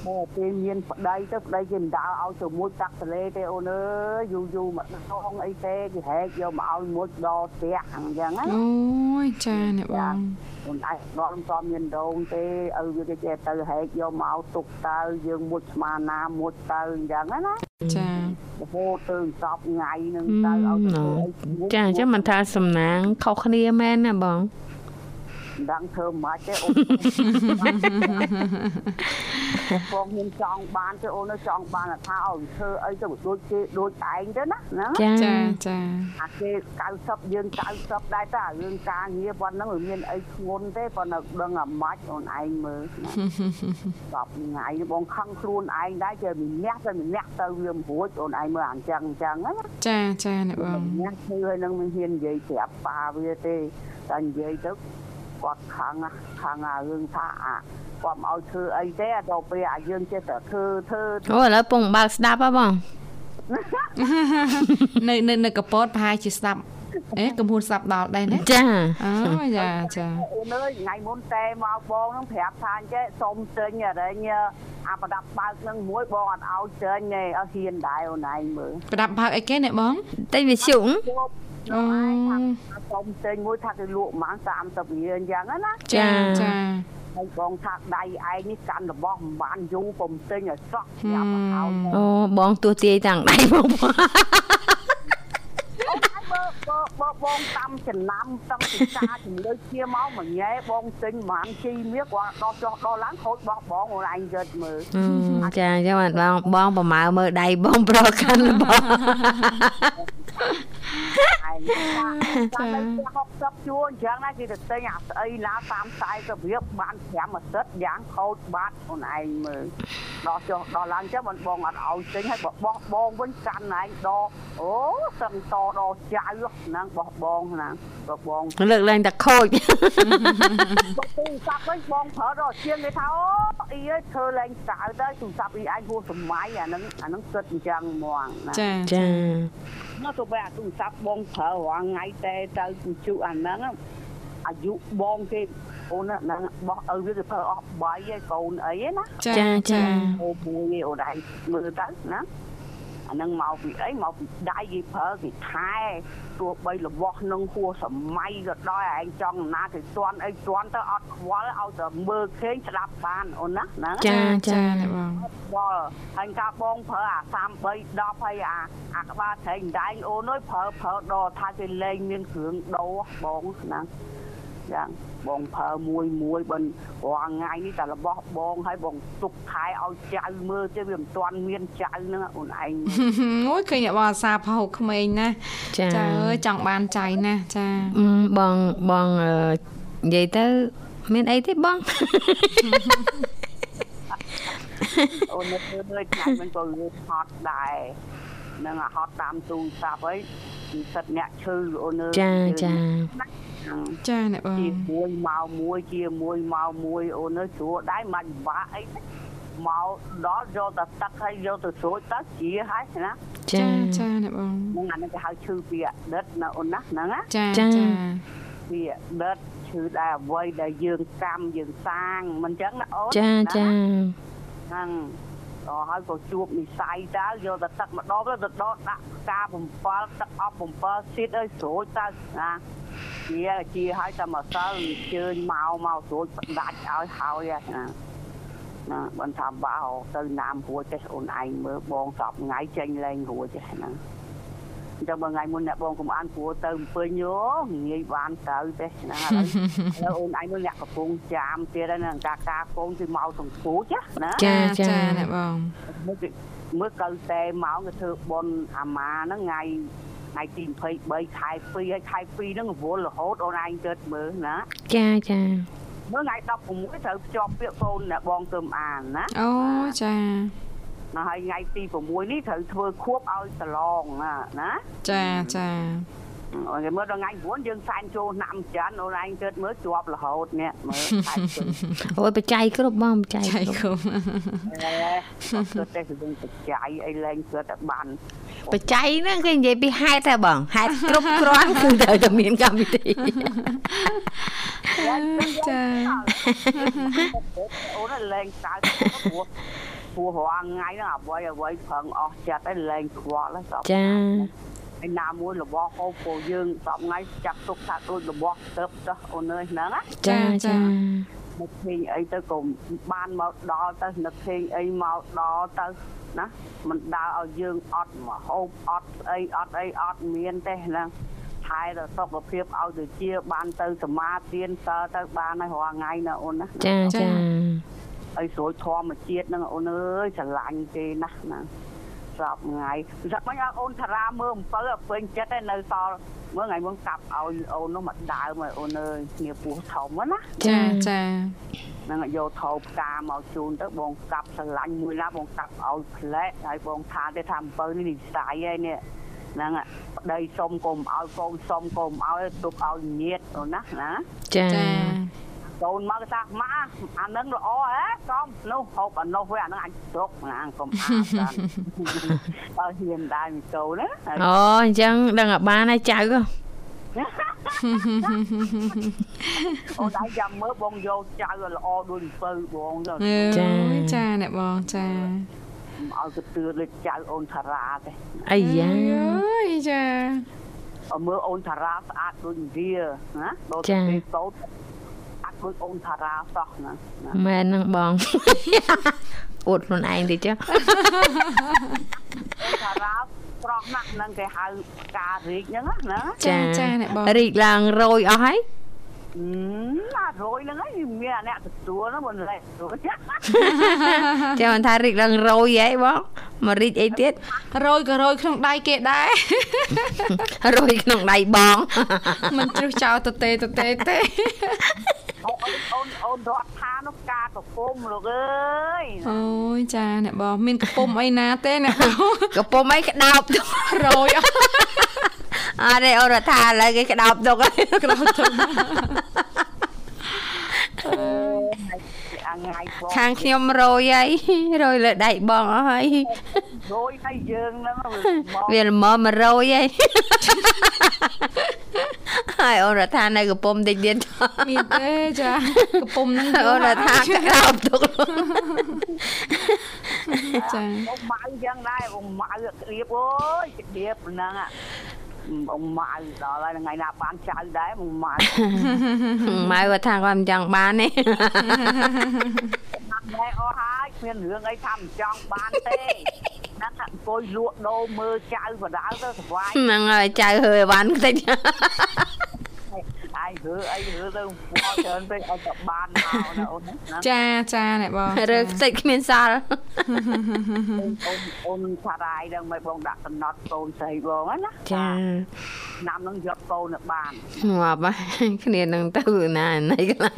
D: មកពេលមានប្តីទៅប្តីគេមិនដាល់ឲ្យទៅមួយតាក់ទលេទេអូនអើយយូរយូរមកដងអីទេគេហែកយកមកឲ្យមួយដល់ស្ទាក់អញ្ចឹងណា
A: អូយចាអ្នកបង
D: អូនឯងដល់មិនទាន់មានដងទេឪវាគេចេះទៅហែកយកមកទុកតើយើងមួយស្មានណាមួយទៅអញ្ចឹងណា
A: ចា
D: រហូតទៅសពថ្ងៃនឹងទៅឲ្យទៅធ្វើអីមួយ
B: ចាអញ្ចឹងមិនថាសំណាងខុសគ្នាមែនណាបង
D: មិនដឹងធ្វើមិនទេ អូន បងខ្ញុំចង់បានទេអូនចង់បានថាឲ្យធ្វើអីទៅដូចគេដូចឯងទៅណាណា
B: ចា
A: ចាចា
D: អាគេ90យើង90ដែរតារឿងការងារប៉ុណ្ណឹងវាមានអីធ្ងន់ទេប៉ុន្តែដឹងអាម៉ាច់អូនឯងមើល10ថ្ងៃបងខំខ្លួនឯងដែរជើម្នាក់ទៅម្នាក់ទៅវាមិនរួចអូនឯងមើលអញ្ចឹងអញ្ចឹងណា
A: ចាចាអ្នកបង
D: ម្នាក់ធ្វើឲ្យនឹងមិនហ៊ាននិយាយប្រាប់ប៉ាវាទេតែនិយាយទៅគាត់ខឹងណាខឹងអារឿងថាអាគាត់មកឲ្យធ្វើអីទេអាដល់ពេលអាយើងចេះតែធ្វើធ្វើ
B: អូឥឡូវពងបើកស្ដាប់ហ៎បង
A: នៅនៅនៅកពតប្រហែលជាស្ដាប់អេកំហួនស្ដាប់ដល់ដែរណា
B: ចា
A: អូយ៉ាចា
D: អូនអើយថ្ងៃមុនតែមកបងនឹងប្រាប់ថាអញ្ចេះសុំចេញអរិញអាប្រដាប់បើកនឹងមួយបងអត់ឲ្យចេញទេអត់ហ៊ានដែរអូនឯងមើល
A: ប្រដាប់បើកអីគេអ្នកបង
B: តែវាជុំ
A: អូ
D: ថាសុំចេញមួយថាគេលក់ប្រហែល30រៀលអញ្ចឹងណា
A: ចាចា
D: ហើយបងថាដៃឯងនេះកាន់របស់មិនបានយូរពុំចេញឲ្យសោះញ៉ាំមកឲ្យ
A: ហឹម
D: អូ
B: អូបងទោះទាយទាំងដៃបងបង
D: នឯងមើលបងបងបងតាមចំណាំតាមពិសាជំនឿជាមកមួយញ៉ែបងចេញប្រហែលជីមាសគាត់ដល់ចុះដល់ឡើងខូចបោះបងអូនឯងយត់មើល
B: អូចាអញ្ចឹងបាទបងបងប្រមើលមើលដៃបងប្រកាន់របស់
D: ឯងចាំតែ60ជួរអញ្ចឹងណាគេទៅទិញអាស្អីឡា30 40រៀបបាន5អាទិត្យយ៉ាងខូចបាត់ខ្លួនឯងមើលដល់ចុះដល់ឡើងចឹងមិនបងអត់ឲ្យទិញហើយបបោះបងវិញកាន់ឯងដកអូសឹងតដល់ចៅហ្នឹងបោះបងហ្នឹងបោះបង
B: លើកឡើងតែខូច
D: បើទូរស័ព្ទវិញបងប្រើដល់ជាងគេថាអូអីអើយធ្វើឡើងចៅទៅទូរស័ព្ទអីឯងហួសសម័យអាហ្នឹងអាហ្នឹងគិតអញ្ចឹងហ្មងណា
A: ចា
B: ចា
D: មកទៅបែរអាទូរស័ព្ទបងប្រើរាល់ថ្ងៃតែទៅជញ្ជក់អាហ្នឹងអាយុបងគេអូនហ្នឹងបោះឲ្យវាគេប្រើអស់3ហើយកូនអីហ្នឹងណា
A: ចាចា
D: អូមួយឯងអូនឯងមើលទៅណាអាហ្នឹងមកពីអីមកពីដៃគេប្រើគេខែទោះបីរបស់នឹងហួសសម័យក៏ដោយឯងចង់ណាគេស្ទាន់អីស្ទាន់ទៅអត់ខ្វល់ឲ្យតែមើលឃើញស្ដាប់បានអូនណាហ្នឹង
B: ចា
A: ចា
B: ចា
A: អ្នកបង
D: បងហើយការបងប្រើអា33 10ហើយអាអាក្បាលត្រែងដែងអូនអើយប្រើប្រើដល់ថាគេលេងមានគ្រឿងដោះបងណាយ៉ាងបងប្រើមួយមួយបិនរាល់ថ្ងៃនេះតែរបស់បងហើយបងទុកខែឲ្យចៅមើលទេវាមិនទាន់មានចៅហ្នឹងអូនឯង
A: អូយឃើញអ្នកបងអាសាផោកក្មេងណាស់
B: ចា
A: ចាអើយចង់បានចៃណាស់ចា
B: អឺបងបងអឺនិយាយទៅមានអីទេបង
D: អូនអើយថ្ងៃមិនក៏លឺហត់ដែរនឹងហត់តាមទូរស័ព្ទហើយគឺសិតអ្នកឈឺអូនអើយ
B: ចាចា
D: ហ្នឹង
A: ចាអ្នកបង
C: Ừ.
D: ជាមួយមកមួយជាមួយមកមួយអូនអើយស្រួលដែរមិនបាក់អីទេមកដល់យកតែទឹកហើយយកទៅស្រួចទៅជាហើយណា
B: ចា
A: ចាចាអ្នកបង
D: ហ្នឹងអាហ្នឹងគេហៅឈឺពីអតីតណាអូនណាហ្នឹងណា
A: ចា
B: ចា
A: ចា
D: ពីអតីតឈឺដែរអ្វីដែលយើងកម្មយើងសាងមិនចឹងណាអូន
B: ចាចា
D: ហ្នឹងអូហើយក៏ជួបនិស័យដែរយកតែទឹកម្ដងទៅទៅដកដាក់ផ្កា7ទឹកអប់7ស៊ីតអើយស្រួចទៅណាជាជាហើយតែម្សិលជើញមកមកស្រួចបដាច់ឲ្យហើយហ្នឹងណា ណាបន្តថាបោទៅណាមរួចទេអូនឯងមើលបងសប់ថ្ងៃចេញលេងរួចទេហ្នឹងអញ្ចឹងបើថ្ងៃមុនអ្នកបងកុំអានព្រោះទៅអំពើញយោងាយបានទៅទេណាឥឡូវ ឥឡូវអូនឯងមើលអ្នកកំពុងចាមទៀតហើយនឹងការការកូនគឺមកសង្គូចណា
B: ចាចា
A: ចាអ្នកបង
D: មើលគេមើលកៅតែមកគេធ្វើបនអាម៉ាហ្នឹងថ្ងៃថ្ងៃទី23ខែ2ហើយខែ2ហ្នឹងរវល់រហូតអូនឯងជិតមើលណា
B: ចាចា
D: មើលថ្ងៃ16ត្រូវភ្ជាប់ពាក្យកូនអ្នកបងទៅអានណា
A: អូចា
D: ណាហើយថ្ងៃទី6នេះត្រូវធ្វើខួបឲ្យប្រឡងណាណា
A: ចាចា
D: អូនមើលដល់ថ្ងៃ9យើងសាញ់ចូលឆ្នាំច្រើនអូនឯងគិតមើលជាប់រហូតនេះមើលអាចជិះ
B: អូយបច្ច័យគ្រប់បងបច្ច័យ
A: ចៃ
B: គ្រប់
A: គុំ
D: អេគាត់គិតតែគឺយើងបច្ច័យអីឡើងគិតតែបាន
B: បច្ច័យហ្នឹងគេនិយាយពីហេតុតែបងហេតុគ្រប់គ្រាន់គឺត្រូវតែមានកម្មវិធី
A: ចា
D: អូនឡើងតើព្រោះព្រោះរាល់ថ្ងៃហ្នឹងអ្វីអ្វីព្រឹងអស់ចិត្តហើយឡើងខ្វល់ហ្នឹងសព
B: ចា
D: ឯណាមួយរបស់ហូបពួកយើងសពថ្ងៃចាប់ទុកថាដូចរបស់ទៅចុះអូនអើយហ្នឹងណា
B: ចាចា
D: មកឃើញអីទៅក៏បានមកដល់ទៅនឹកឃើញអីមកដល់ទៅណាមិនដើរឲ្យយើងអត់មកហូបអត់ស្អីអត់អីអត់មានទេហ្នឹងថែដល់សុខភាពឲ្យទៅជាបានទៅសមាទានសើទៅបានហើយរាល់ថ្ងៃណាអូនណា
B: ចាចា
D: ឲ្យស្រួយធម្មជាតិហ្នឹងអូនអើយស្រឡាញ់គេណាស់ណាស្រាប់ថ្ងៃស្រាប់មិនឲ្យអូនតារាមើលអំពើឲ្យពេញចិត្តឯនៅសល់មើលថ្ងៃមុនកាប់ឲ្យអូននោះមកដើមឲ្យអូនអើយគ្នាពោះធំហ្នឹងណា
A: ចាចា
D: ហ្នឹងយកថោផ្កាមកជូនទៅបងកាប់ស្រឡាញ់មួយណាបងកាប់ឲ្យផ្លែកហើយបងថាទេថាអំពើនេះនិស័យឯនេះហ្នឹងហើយប្តីសុំកុំឲ្យកូនសុំកុំឲ្យទុកឲ្យញៀតអូនណាណា
B: ចា
A: ចា
D: កូនមកថាម៉ាអានឹងល្អហ៎កំនោះហូបអានោះវិញអានឹងអញស្រុកណាកុំអាបបាន បើហ៊ានដែរមីកូនណាហើយ
B: អូអញ្ចឹងដឹងឲ្យបានហើយចៅហ៎
D: អូនដែរយ៉ាំមើលបងយកចៅឲ្យល្អដូចអំពៅបងទៅ
A: អឺចាអ្នកបងចា
D: ឲ្យទៅទឿលើចៅអូនតារាទេ
B: អាយ៉ា
A: អូយចា
D: ឲ្យមើលអូនតារាស្អាតដូចឥណ្ឌាណាដូចគេសោតស្អាតដូចអូនតារាសោះណាណា
B: មែនហ្នឹង បងអួតខ្លួនឯងតិចចុះ
D: អូនតារាស្រស់ណាស់ហ្នឹងគេហៅការរីកហ្នឹងណាណា
A: ចាចាអ្នកបង
B: រីកឡើងរយអស់ហើយ
D: អឺអារយហ្នឹងឯងមានអ្នកទទួលហ្នឹងមិនឡែកទទួល
B: ចាំមិនថារីកឡើងរយហីបងមករីកអី ទៀត
A: រយក៏រយក្នុងដៃគេដែរ
B: រយក្នុងដៃបង
A: មិនជ្រុះចោលទៅទេទៅទេទេ
D: អូនអូនអូនរត់ថានោះការកពុំលោកអើយ
A: អូយចាអ្នកបងមានកំពុំអីណាទេអ្នកបង
B: កំពុំអីក្តោបទុករ
A: យអស់
B: អត់ទេអូនរត់ថាឥឡូវគេក្តោបទុកហើយ
A: ក្រោយទៅ
D: អាថ្ងៃផង
B: ខាងខ្ញុំរយ ហើយរយលើដៃបងអស់ហើយ
D: រយឲ្យយើងហ្នឹងមក
B: វាល្មម100ហើយហើយអូនរត់ថានៅកំពុំតិចទៀត
A: មានទេចាកំពុំហ្នឹងយូ
B: អូនរ
A: រ
B: ត់ថាក្តោបទុក
A: ចា
D: មកម៉ៅយ៉ាងដែរបងម៉ៅក្រៀបអើយក្រៀបហ្នឹងអាបងម៉ៅដល់ហើយថ្ងៃណាបានចៅដែរបងម៉ៅ
B: ម៉ៅគាត់ថាគាត់មិនចង់បានទេ
D: ថាដែរអស់ហើយគ្មានរឿងអីថាមិនចង់បានទេណាស់ថាអង្គុយលក់ដូរមើលចៅបដាលទៅសុវ័យ
B: ហ្នឹងហើយចៅហើយវ៉ាន់តិច
D: អាយហឺអីហឺទៅពណ៌ច្រើនពេកឲ្យតែបានមកណាអូនណា
A: ចាចាអ្នកបង
B: រើខ្ទេចគ្មានសល់
D: អូនអូនអូនថារាយដឹងមិនបងដាក់កំណត់កូនស្រីបងហ្នឹងណា
B: ចា
D: ឆ្នាំហ្នឹងយកកូនទៅបាន
B: ងាប់ហើយ គ្នានឹងទៅណាណៃកន្លង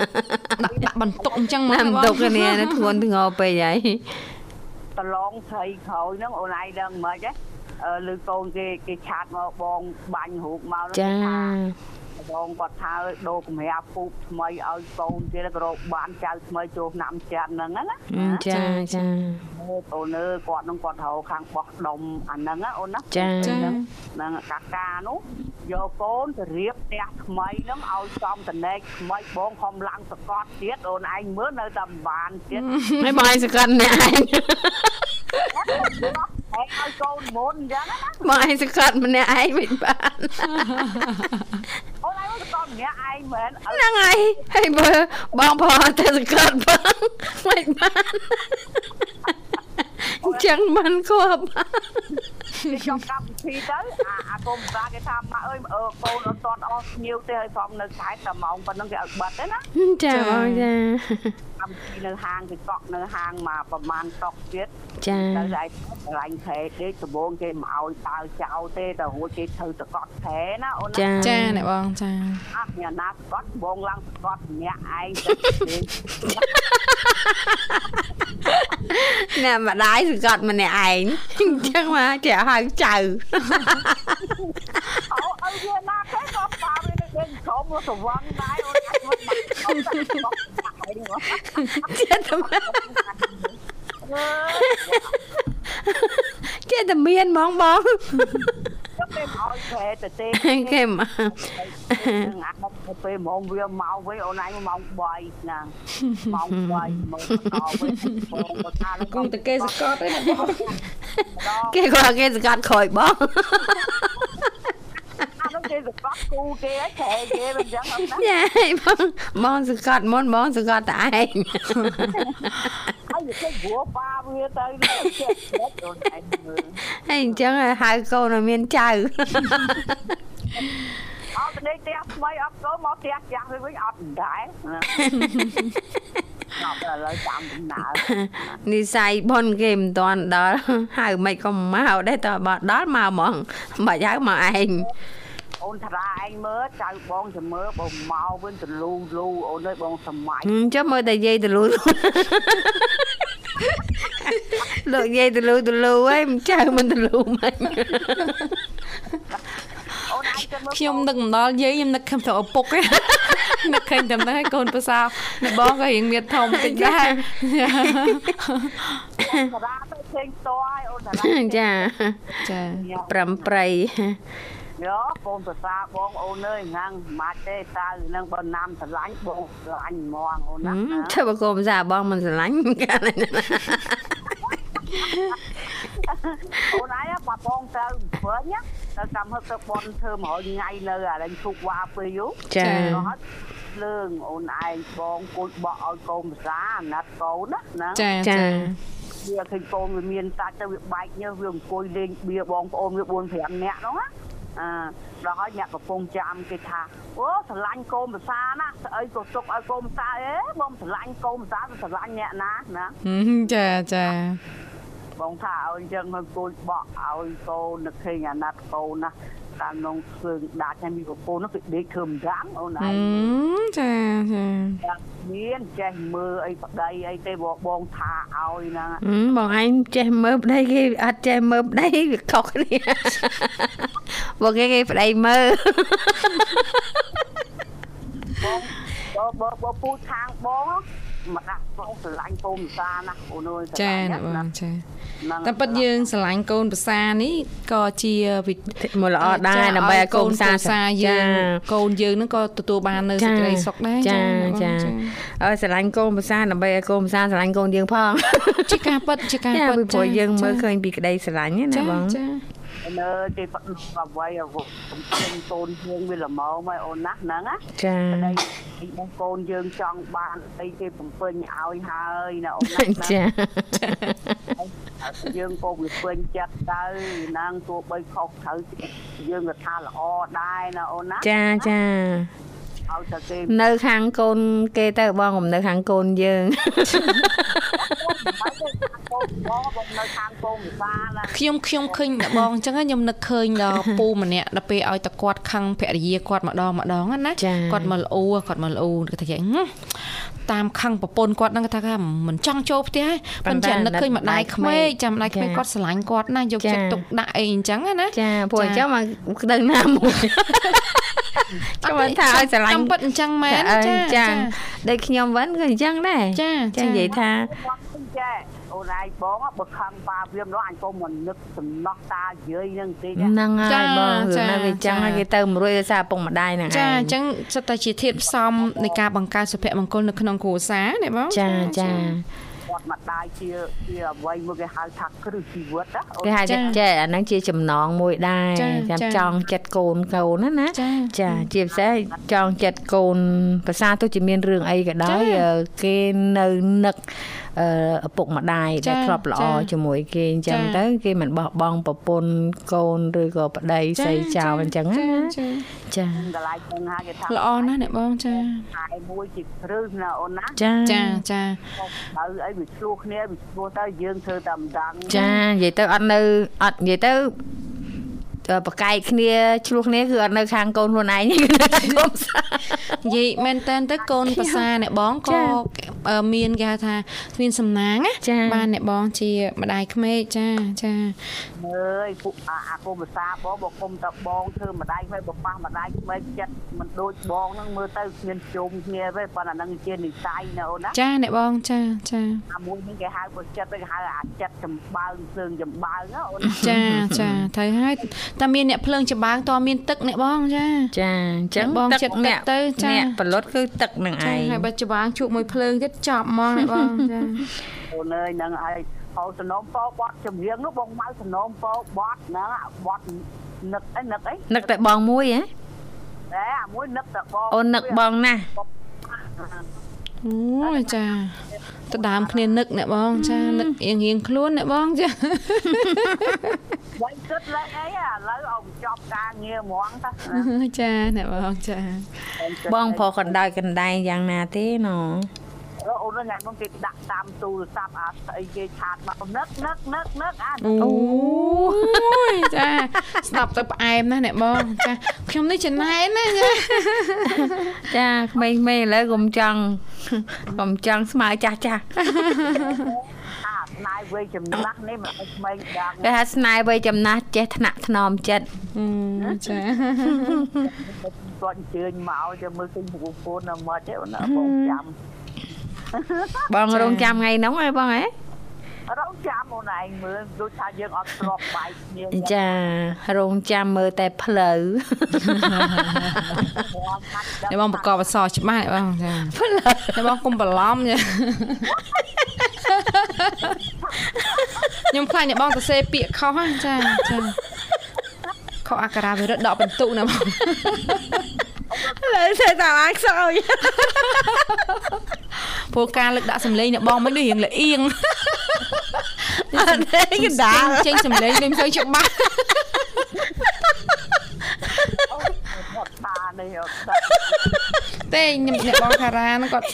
A: ដាក់ដាក់បន្ទុកអញ្ចឹងមក
B: ណា ម
A: អ្នកបង
B: ទុកគ្នា នឹងធ្ងន់ធ្ងរពេកហើយ
D: ប្រឡងស្រីក្រោយហ្នឹងអូនឯងដឹងមិនហ៎អឺឬកូនគេគេឆាតមកបងបាញ់រូបមក ហ្នឹង
B: ចា
D: គេថាបងគាត់ថាឲ្យដូរកាមេរ៉ាពូបថ្មីឲ្យកូនគេទៅរកបានចៅថ្មីចូលឆ្នាំច្រើនហ្នឹងណាណា
B: ចាចា
D: អូនអើយគាត់ហ្នឹងគាត់ហៅខាងបោះដុំអាហ្នឹងណាអូនណា
B: ចា
A: ចា
D: ហ្នឹងកាកានោះយកកូនទៅរៀបផ្ទះថ្មីហ្នឹងឲ្យចំតណែកថ្មីបងខំឡើងសកត់ទៀតអូនឯងមើលនៅតែមិនបានទៀត
B: ហើយបងឯងសកាត់អ្នកឯង
D: ឯងឲ្យកូនមុនអញ្ចឹងណា
B: បងឯងសកាត់ម្នាក់ឯងមិនបាន
D: អូនឯងមើលសកត់ម្នាក់ឯងមែនអ
B: ហ្នឹងហើយហើយបើបងប្រហែលតែសកាត់បង មិនបាន អញ្ចឹងមិនគប់
D: ឺខ្ញុំកម្មវិធីទៅអាអាកូនប្រាគេថាម៉ាក់អើយអឺកូនអត់តន់អស់ស្ញៀវទេហើយសំនៅខែតែម៉ោងប៉ុណ្ណឹងគេឲ្យបិទទេណា
B: ចាបងចា
D: កម្មវិធីនៅហាងគេកក់នៅហាងមកប្រហែលតុកទៀត
B: ចា
D: ទៅឯងកន្លែងខេទេដំបូងគេមកឲ្យដើរចោលទេតែរួចគេធ្វើតកត់ខេណាអូនណា
B: ចា
A: ចាអ្នកបង ចា
D: អត់មានណាតកត់បងឡើងតកត់ម្នាក់ឯងទៅទេ
B: អ្នកម្ដាយសកាត់ម្នាក់ឯងអញ្ចឹងមកចេះហៅចៅ
D: អូអើវាណាខ សវណ្ណដែរអូនអាចមកបាក់អូនបាក់បាក់ហើយហ្នឹង
A: ចិត្តតែ
B: ចេះតែមានហ្មងបង
D: ខ្ញុំមិនអោយខែទៅទេ
B: គេមក
D: នឹងអាប់ទៅពេលម៉ោងវាមកវិញអូនឯងម៉ោង3ណាម៉ោង3ម៉ោងមកវិញបងមកថា
A: គង់តែគេសកតឯណាបង
B: គេគាត់គេសង្កត់ក្រោយបង
D: អានោះគេសកត់គូគេហើយខែគេមិនចឹងអត់ណា
B: ញ៉ៃបងបងសង្កត់មុនបងសង្កត់តែឯង
D: ហើយគេគួរប៉ាវាទៅនឹងចេះចេះអូនឯងមើល
B: ហើយអញ្ចឹងហៅកូនឲ្យមានចៅ
D: អត់នេះផ្ទះថ្មីអត់ចូលមកផ្ទះចាស់វិញអត់ដែរណា ដល់ឥឡូវតាមដំណើរ
B: និស័យបនគេមិនតាន់ដល់ហៅមិនក៏មកដែរតើបើដល់មកហ្មងបាច់ហៅមកឯង
D: អូនថាឯងមើលចៅបងចាំមើលបងមកវិញទលូលូអូនអើយបងសម័យ
B: អញ្ចឹងមើលតែយាយទ លូលោកយាយទលូទលូឯងចៅមិនទលូ មិញ
D: អូនឯងទៅមើល
A: ខ្ញុំនឹកម្ដលយាយខ្ញុំនឹកខឹមទៅឪពុកឯង នឹកឃើញតែម្ដងឲ្យកូនប្រសានៅបងក៏រៀងមានធំតិចដែរ
D: តារាទៅឃើញផ្ទាល់ហើយអូន តារា
B: ចា
A: ចា
B: ប្រំប្រៃ
D: យោបងប្រសាបងអូនអើយងាំងម៉ាត់ទេតើនឹងបើណាំស្រឡាញ់បងស្រឡាញ់ហ្មងអូនណា
B: ធ្វើបង្គំសាបងមិនស្រឡាញ់កាលណា
D: អូនឯងបើបងទៅព្រឹងណាទៅកម្មហឹកទៅបនធ្វើ100ថ្ងៃនៅអាលេងឈូកវ៉ាពេលយូរ
B: ចា
D: អត់លើងអូនឯងបងគូចបក់ឲ្យកូនប្រសាអាណិតកូនណាណា
A: ចា
B: ចា
A: ចា
D: វាឃើញកូនវាមានសាច់ទៅវាបែកញើសវាអង្គុយលេងបៀបងប្អូនវា4 5នាក់ហ្នឹងណាអឺដល់ហើយអ្នកកំពុងចាំគេថាអូស្រឡាញ់កូនភាសាណាស្អីក៏ទុកឲ្យកូនភាសាអេបងស្រឡាញ់កូនភាសាស្រឡាញ់អ្នកណាណា
A: ហឹមចា ចា
D: បងថាឲ្យអញ្ចឹងហើយកូនបក់ឲ្យកូននឹកឃើញអាណត្តិកូនណាតាមនងធ្វើដាច់ហើយមានប្រពន្ធនោះគេដេកធ្វើម្ដងអូនឯ
A: អឺ
D: ង
A: ចាចា
D: មានចេះមើលអី ប្តីអីទេបងបងថាឲ្យហ្នឹង
B: អឺបងឯងចេះមើលប្តីគេអត់ចេះមើលប្តីវាខុស គ្នាបងគេគេប្តីមើល
D: បងបងបងពូខាងបងមកដាក់បងស្រឡាញ់ពូមិសាណាអូនអើយ
A: ចាណា បងចាតែពិតយើងស្រឡាញ់កូនប្រសានេះក៏ជាវិធី
B: មកល្អដែរ
A: ចា
B: ដើម្បីឲ្យកូនសា
A: ប្រសាយើ
B: ចា
A: ងកូនយើងហ្នឹងក៏ទទួលបាននៅសេចក្តីសុខដែរ
B: ចា
A: បង
B: ចាអើស្រឡាញ់កូនភាសាដើម្បីឲ្យកូនភាសាស្រឡាញ់កូនយើងផង
A: ជាការពិតជា ការ
B: ចា
A: ពិត
B: ពីព្រោះ
A: ចា
B: យើងមើល
A: ចា
B: ឃើញពីក្តីស្រឡាញ់ណា
A: ចា
B: បង
A: ចា
D: នៅគេផ្ដិតអ្វីអ្វីខ្ញុំខ្ញុំកូនយើងវាល្មមហើយអូនណាហ្នឹងណា
B: ចា
D: ប្តីពីបងកូនយើងចង់បានអីគេបំពេញឲ្យហើយណាអូនណាណា
B: ចា
D: យើងក៏វាពេញចិត្តទៅហ្នឹងទោះបីខុសត្រូវយើងក៏ថាល្អដែរណាអូនណា
B: ចាចា
D: ឲ្យតែគេ
B: នៅខាងកូនគេទៅបង កុំនៅខាងកូនយើង
D: បងនៅខាងកងវិសាណា
A: ខ្ញុំខ្ញុំឃើញតែបងអញ្ចឹងខ្ញុំនឹកឃើញ ដល់ពូម្នាក់ដល់ពេលឲ្យតែគាត់ខឹងភរិយាគាត់ម្ដងម្ដងហ្នឹងណា
B: ចា
A: គាត់មកល្អគាត់មកល្អគាត់ថាយ៉ាងហឹមតាមខឹងប្រពន្ធគាត់ហ្នឹងគាត់ថាថាមិនចង់ចូលផ្ទះហើយ
B: ប៉ុ
A: ប៉ុន្តែ
B: ន្តែ
A: នឹកឃើញម្ដាយក្មេកចាំម្ដាយក្មេក
B: ចា
A: គាត់ស្រឡាញ់គាត់ណាយក
B: ចា
A: ចិត្តទុកដាក់អីអញ្ចឹងណា
B: ចាព្រោះអ
A: ចា
B: ញ្ចឹងមកដឹងណាមួយ ចាំមិនថាឲ្យស្រឡាញ់
A: តាមពិតអញ្ចឹងមែន
B: អ
A: ចា
B: ញ្ចឹ
A: ចា
B: ងដូចខ្ញុំវិញក៏អញ្ចឹងដែរ
A: ចា
B: ចានិយាយថា
D: បងចេះអូនឯងបងបើខឹងប៉ាវាម្ដងអញក៏មិននឹកសំណោះតាយាយហ្នឹងទេណា
B: ហ្នឹងហើយបងរឿងហ្នឹងវាអញ្ចឹងហើយគេទៅមួយរួយដោយសារឪពុកម្ដាយហ្នឹងឯង
A: ចាអញ្ចឹងសិតតែជាធាតផ្សំនៃការបង្កើតសុភមង្គលនៅក្នុងគ្រួសារណាបង
B: ចាចា
D: គាត់មកដាយជាជាអ្វីមួយគេហៅថាគ្រឹះជីវិតណាអូន
B: គេហៅថាចេះអាហ្នឹងជាចំណងមួយដែរចាំចង់ចិត្តកូនកូនណាណា
A: ចា
B: ចាជាពិសេសចង់ចិត្តកូនប្រសាទោះជាមានរឿងអីក៏ដោយអឺគេនៅនឹកអឺឪពុកម្ដាយដែលធ្លាប់ល្អជាមួយគេអញ្ចឹងទៅគេមិនបោះបង់ប្រពន្ធកូនឬក៏ប្ដីស្រីចៅអញ្ចឹងណា
A: ចា
B: ចា
D: កន្លែងហ្នឹងហើយគេថា
A: ល្អណាស់អ្នកបងចា
D: ខែមួយជាគ្រឹះណាអូនណា
B: ចា
A: ចាចា
D: ហើយអីវាឆ្លោះគ្នាវាឆ្លោះទៅយើងធ្វើតែម្ដង
B: ចានិយាយទៅអត់នៅអត់និយាយទៅអឺប្រកែកគ្នាឆ្លោះគ្នាគឺអត់នៅខាង កូនខ្លួនឯងទេគឺនៅខាងកូនសា
A: និយាយមែនតើទៅកូនប្រសាអ្នកបងក៏ មានគេហៅថាគ្មានសំណាងណាបានអ្នកបងជាម្ដាយក្មេកចាចា
D: អើយពួកអាអាកុំភាសាបងបងកុំតបងធ្វើម្ដាយក្មេកបបាស់ម្ដាយក្មេកចិត្តមិនដូចបងហ្នឹងមើលទៅគ្មានជុំគ្នាទេប៉ុន្តែហ្នឹងជានិស័យណាអូនណា
A: ចាអ្នកបងចាចា
D: អាមួយហ្នឹងគេហៅបើចិត្តគេហៅអាចិត្តចំបើងភ្លើងចំបើងណាអូន
A: ចា ចាត្រូវហើយតែមានអ្នកភ្លើងចំបើងតមានទឹកអ្នកបងចា
B: ចាអញ្ចឹង
A: បងចិត្តទឹកទៅចា
B: អ្នកប្រលត់គឺទឹកនឹងឯងចា
A: ហើយបើចំបើងជក់មួយភ្លើងទៀតចប់ហ្មងអ្នក បងចា
D: អូនអើយហ្នឹងហើយអោសនំពោបត់ចម្រៀងនោះបងម៉ៅសនំពោបត់ហ្នឹងបត់នឹកអីនឹកអី
B: នឹកតែបងមួយហ៎
D: អេអាមួយនឹកតែបង
B: អូននឹកបងណាស់
A: អូយចាតដើមគ្នានឹកអ្នកបងចានឹករៀងរៀងខ្លួនអ្នកបង ចា
D: វាយគិតលេខអីឥឡូវអង្គចប់ការងារហ្មង តា
A: ចាអ្នកបងចា
B: បងប្រកណ្ដោយកណ្ដែងយ៉ាងណាទេណូ
D: អូនហ្នឹងគេដាក់តាមទូរស័ព្ទអាស្អីគេឆាតមកនឹកនឹកនឹកនឹកអា
A: អូ យចាស្ដាប់ទៅផ្អែមណាស់អ្នកបងចាខ្ញុំនេះច្នៃណាចា
B: ចាក្មេងៗឥឡូវកុំចង់ កុំចង់ស្មើចាស់ចាស់
D: អាស្នាយវ័យចំណាស់នេះមិនអីក្មេងដល់
B: គេថាស្នាយវ័យចំណាស់ចេះថ្នាក់ថ្នមចិត្ត
A: ចា
D: គាត់អញ្ជើញមកចាំមើលគេប្រពន្ធណាមកទេអូនបងចាំ
B: បងរងចាំថ្ងៃហ្នឹងហើយបងហ៎
D: រងចាំអូនឯងមើលដូចថាយើងអត់ស្របបែកគ្នា
B: ចារងចាំមើលតែផ្លូវ
A: នេះបងប្រកបអសច្បាស់បងចា
B: ផ្លូវ
A: នេះបងកុំបន្លំខ្ញុំខ្លាចអ្នកបងសរសេរពាក្យខុសចាចាខុសអក្ខរាវិរុទ្ធដកបន្ទុកណាបង
B: លើសេតាអាខ្សោយ
A: ព្រោះការលើកដាក់សម្លេងរបស់មិញនេះរៀងល្អៀង
B: អត់ទេកណ្ដាល
A: ចេញសម្លេងនេះមិនសូវច្បាស់
D: អត់តានេះអត់
A: ទេខ្ញុំអ្នកបងខារ៉ាហ្នឹងគាត់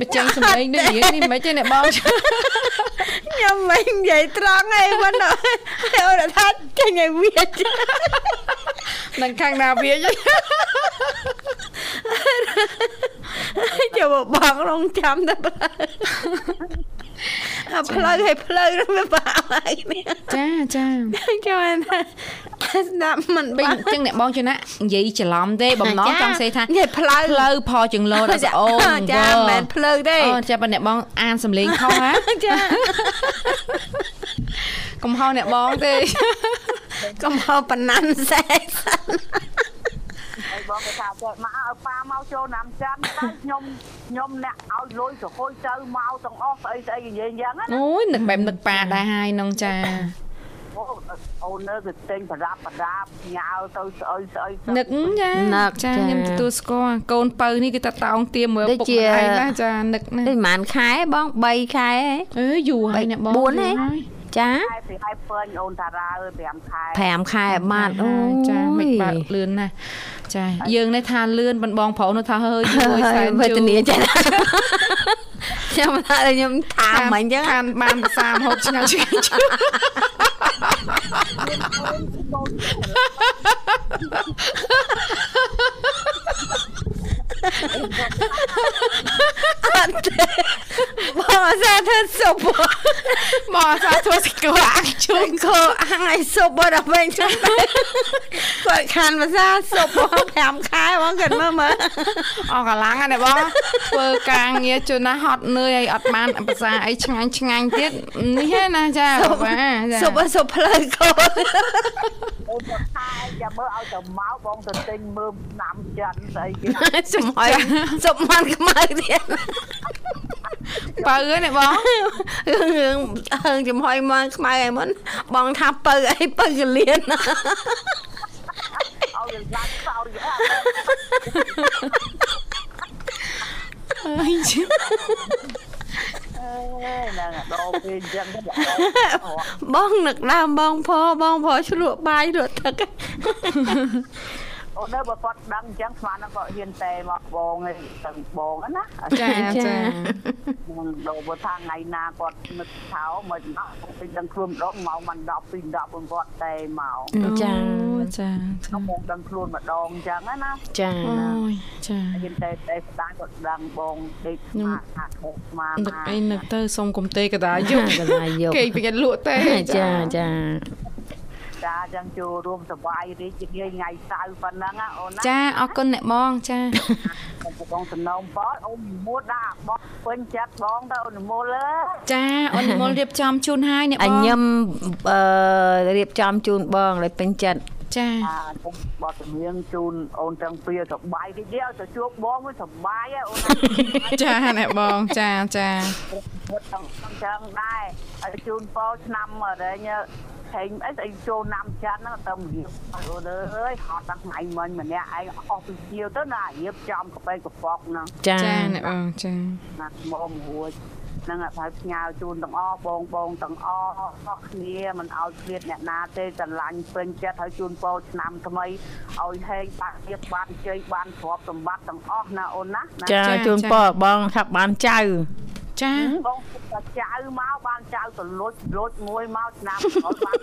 A: បញ្ចេញសម្លេងដូចរៀងនេះមិនទេអ្នកបង
B: ខ្ញុំ មិននិយាយត្រង់ឯង មិនអូនថាចេញឲ្យវា
A: នឹងខាងណាវា
B: ចូលបងរងចាំ តែប្រអាផ្លូវឲ្យផ្លូវ វាបាក់ហើយ
A: ចាចា
B: ចូលណា ស្ដាប់មិន
A: បិញ ចឹងអ្នកបងចំណានិយាយច្រឡំទេបំណងចង់សេថា
B: និយាយផ្លូវ
A: ផ្លូវផលចង្លូតអត់អូ
B: ចាមិនផ្លូវទេ
A: អូចាប៉ះអ្នកបងអានសំលេងខុសហ៎
B: ចា
A: កុំហៅអ្នកបង ទេ
B: កុំហៅប៉ណ្ណាំសេ
D: ហើយបងគេថាគាត់មកឲ្យប៉ាមកចូលណាំចាំតែខ្ញុំខ្ញុំអ្នកឲ្យលុយទៅហុយទៅមកទាំងអស់ស្អីស្អីនិយាយយ៉ាងណា
A: អូយនឹកបែបនឹកប៉ាដែរហើយនងចា
D: អូននៅទៅទិញប្រដាប់ប្រដាប់ញ៉ៅទៅស្អុយស្អុយ
A: នឹកចានឹកចាខ្ញុំទទួលស្គាល់កូនបើនេះគឺតាតោងទៀមមើលពុកឯងណាចានឹកណា
B: ដូចប៉ុន្មានខែបង3ខែ
A: អេយូរហើយណាបង
B: 4ហ៎ចា
D: ខែពីហើយពើញអូនតារាអើយ5ខែ
B: 5ខែបាត់អូ
A: ចាមិនបាត់លឿនណាស់ចាយើងនេះថាលឿនបងប្រុសនោះថាហើយយូរ ហើយសែន
B: វេទនាចាខ្ញុំថាខ្ញុំថាមិនអញ្ចឹង
A: បានបានភាសាហូបឆ្ងាញ់ឆ្ងាញ់
B: អត់ទេបងសាធ្វើសុប
A: បងសាធ្វើស្គាល់អាំងជុំ
B: កោអាំងឲ្យសុបដល់វិញចឹងគាត់ខានភាសាសុបបង5ខែបងគាត់មើលមើល
A: អស់កម្លាំងណាបងធ្វើការងារជូនណាហត់នឿយឲ្យអត់បានភាសាអីឆ្ងាញ់ឆ្ងាញ់ទៀតនេះណាចា
B: បាទសុបសុបផ្លូវកោ
D: អូនខែយ៉ាមើលឲ្យទៅមកបងទៅទិញមើលណាំចិនស្អីគេ
B: ចំអុយសុបមិនខ្មៅទៀត
A: បើហ្នឹងបង
B: រឿងរឿងចំហុយមកខ្មៅឯមុនបងថាបើអីបើកលៀន
D: អោយើងឡាក់សោយអើ
A: អី
D: ជា
B: បងនឹកដើមបងផបងផឆ្លក់បាយរត់ទឹក
D: អូ អូននៅបើគាត់ដឹងអញ្ចឹងស្មាននឹងគាត់ហ៊ានតែមកបងឯងទៅបងហ្នឹងណា
A: ចាចា
D: ខ្ញុំដូរបើថាថ្ងៃណាគាត់នឹកថាមិនដល់គាត់ពេញដឹងខ្លួនម្ដងម៉ោងមិន10 2 10បងគាត់តែមក
A: ចាចា
D: ខ្ញុំមកដឹងខ្លួនម្ដងអញ្ចឹងណាណា
B: ចា
A: អូយចា
D: ហ៊ានតែតែស្ដាយគាត់ដឹងបងដេកស្មាថាខុសស្មា
A: នឹក
D: ថា
A: អីនឹកទៅសុំកុំទេកដាយក
B: កន្លែងយក
A: គេពេញលក់ទេ
B: ចាចា
D: ចាអញ្ចឹងចូលរួមសប្បាយរីករាយថ្ងៃសៅរ៍ប៉ុណ្ណឹងណាអូនណា
A: ចាអរគុណអ្នកបងចា
D: ខ្ញុំបងសំណូមពរអូននិមូលដាក់បងពេញចិត្តបងទៅអូននិមូលអើយ
A: ចាអូននិមលរៀបចំជូនហើយអ្នក
B: អ
A: បង
B: ញញឹមអឺរៀបចំជូនបងឲ្យពេញចិត្ត
A: ចា
D: អាខ្ញុំបត់ជំនាញជូនអូនទាំងពីរសប្បាយតិចទៀតទៅជួបបងមួយសប្បាយហ៎អូន
A: ចាអ្នកបងចាចា
D: ពុតទាំងចឹងដែរហើយជូនពោឆ្នាំរែងហេងអីស្អីចូលឆ្នាំច័ន្ទហ្នឹងទៅរៀបអូនអើយហត់ដល់ថ្ងៃមិញម្នាក់ឯងអស់ពីជាវទៅណារៀបចំកាហ្វេកប៉ុកហ្នឹង
B: ចា
A: ចាអ្នកបងចា
D: ណាស់មករួចហ្នឹងអត់ហើយផ្ញើជូនទាំងអស់បងបងទាំងអស់អស់គ្នាមិនឲ្យឃ្លាតអ្នកណាទេស្រឡាញ់ពេញចិត្តហើយជូនពោឆ្នាំថ្មីឲ្យហេងបានទៀតបានជ័យបានទ្រព្យសម្បត្តិទាំងអស់ណាអូនណាណា
B: ចាជូនពរបងថាបានចៅ
A: ចា
D: បងគិតថាចៅមកបានចៅទៅលុចលុចមួយមកឆ្នាំ ក្រោយបាន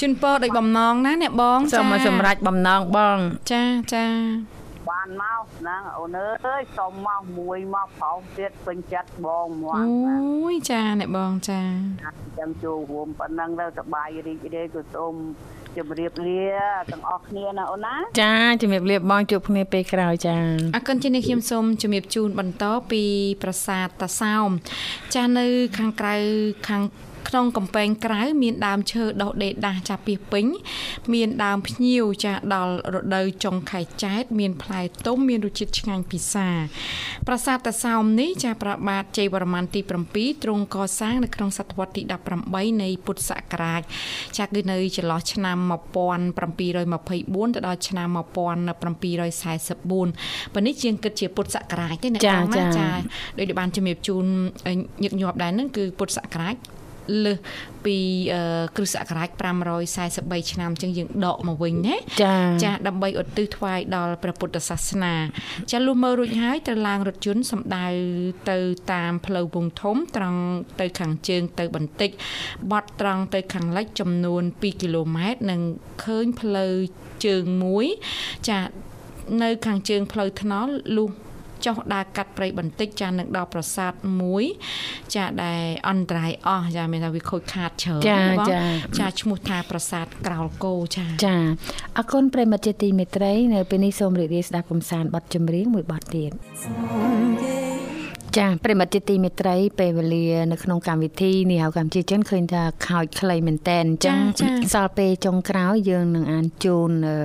A: ជូនពរដោយបំណងណាអ្នកបង
B: សូមមកសម្រេចបំណងបង
A: ចាចា
D: បានមកហ្នឹងអូនអើយសុំមកមួយមកប្រោសទៀតពេញចិត្តបងមក
A: អូ យចាអ្នកបងចា
D: ណាចឹងចូលរួមប៉ុណ្ណឹងទៅសប្បាយរីករាយក៏សូមជម្រាបលាទាំងអស់គ្នាណាអូនណា
B: ចាជំរាបលាបងជួបគ្នាពេលក្រោយចា
A: អរគុណជាអ្នកខ្ញុំសូមជម្រាបជូនបន្តពីប្រាសាទតាសោមចានៅខាងក្រៅខាងក្នុងកំពែងក្រៅមានដើមឈើដុះដេដាស់ចាស់ពីពេញ មានដើមភ្ញៀវចាស់ដល់រដូវចុងខែចែកមានផ្លែទុំមានរសជាតិឆ្ងាញ់ពិសាប្រាសាទតាសោមនេះចាស់ប្របាទជ័យវរ្ម័នទី7ទ្រង់កសាងនៅក្នុងសតវត្សរ៍ទី18នៃពុទ្ធសករាជចាស់គឺនៅចន្លោះឆ្នាំ1724ទៅដល់ឆ្នាំ1744ប៉ុន្នេះជាងគិតជាពុទ្ធសករាជទេអ្នកបងណាចាស់ដោយដែលបានជំរាបជូនញឹកញាប់ដែរហ្នឹងគឺពុទ្ធសករាជលើសពីអឺគ្រិស្តសករាជ543ឆ្នាំចឹងយើងដកមកវិញណា
B: ចា
A: ចាដើម្បីឧទ្ទិសថ្វាយដល់ព្រះពុទ្ធសាសនាចាលុះមើលរួចហើយត្រូវឡើងរថយន្តសម្ដៅទៅតាមផ្លូវវងធំត្រង់ទៅខាងជើងទៅបន្តិចបត់ត្រង់ទៅខាងលិចចំនួន2គីឡូម៉ែត្រនិងឃើញផ្លូវជើងមួយចានៅខាងជើងផ្លូវថ្នល់លុះចុះដើរកាត់ព្រៃបន្តិចចានឹងដល់ប្រាសាទមួយចាដែលអន្តរាយអស់ចាមានថាវាខូចខាតច្រើន
B: ចា
A: បង
B: ចា
A: ចាឈ្មោះថាប្រាសាទក្រោលគោចា
B: ចាអរគុណប្រិយមិត្តជាទីមេត្រីនៅពេលនេះសូមរីករាយស្ដាប់កំសាន្តបទចម្រៀងមួយបទទៀត ចាប្រិមត្តជាទីមេត្រីពេលវេលានៅក្នុងកម្មវិធីនេះហៅកម្មជាចិនឃើញថាខោចខ្លីមែនតែនអញ្ចឹងសល់ពេលចុងក្រោយយើងនឹងអានជូនអឺ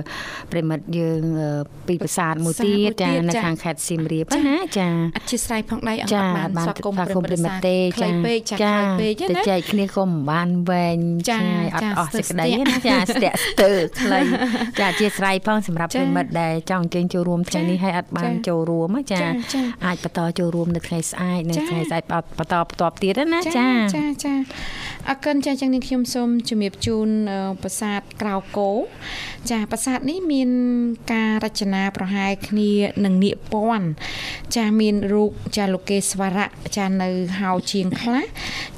B: ប្រិមត្តយើងអឺពីប្រាសាទមួយទៀតចានៅខាងខេត្តសៀមរាបហ្នឹងណាចា
A: អធិស្ឋានផងដៃអង្គបានស្វាគមន៍ព្រះ
B: រិ
A: មិ
B: ម
A: ត្ត
B: ត្ត
A: ទេ
B: ទេ
A: ខ្លីពេកចាខ្លីពេក
B: តែ
A: ណា
B: ចែកគ្នាក៏មិនបានវែង
A: ចា
B: ឆ្ងាយអ
A: ចា
B: ត់អស់សេចក្តី
A: ស្ទាក់
B: ណា ចាស្ទាក់ស្ទើរខ្លីចាអធិស្ឋានផងសម្រាប់
A: ចា
B: ប្រិមត្តដែលចង់អញ្ជើញចូលរួមថ្ងៃនេះហើយអត់បាន
A: ចា
B: ចូលរួមណាចា
A: ចាចា
B: អាចបន្តចូលរួមនៅថ្ងៃស្អែកនៅ
A: ចា
B: ថ្ងៃស្អែកបន្តបន្តបន្តទៀតណាចា
A: ចាចាអរគុណចាចឹងនេះខ្ញុំសូមជម្រាបជូនអឺប្រាសាទក្រៅគោចាប្រាសាទនេះមានការរចនាប្រហែលគ្នានឹងនៀកពាន់ចាមានរូបចាលោកេស្វរៈចានៅហៅជាងខ្លះ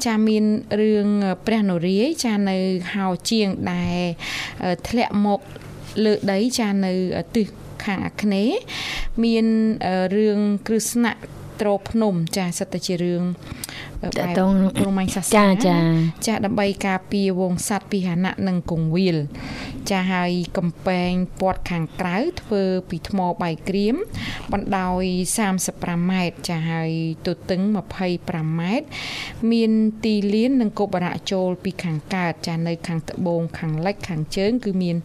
A: ចាមានរឿងព្រះនរាយណ៍ចានៅហៅជាងដែលអឺធ្លាក់មកលើដីចានៅទិសខាងអាគ្នេយ៍មានអឺរឿងគ្រឹស្ណៈត្រោភ្នំចាសិតតែជារឿងអឺ
B: ត
A: បែប
B: តង
A: ព្រហ្មញ្ញសាសនា
B: ចាចា
A: ចាដើម្បីការពារវងសัตว์ពីហនៈនិងកងវាល ចាហើយកំពែងពាត់ខាងក្រៅធ្វើពីថ្មបាយក្រៀមបណ្ដោយ35ម៉ែត្រចាហើយទទឹង25ម៉ែត្រមានទីលាននិងគប់បរៈចូលពីខាងកើតចានៅខាងត្បូងខាងលិចខាងជើង គឺមាន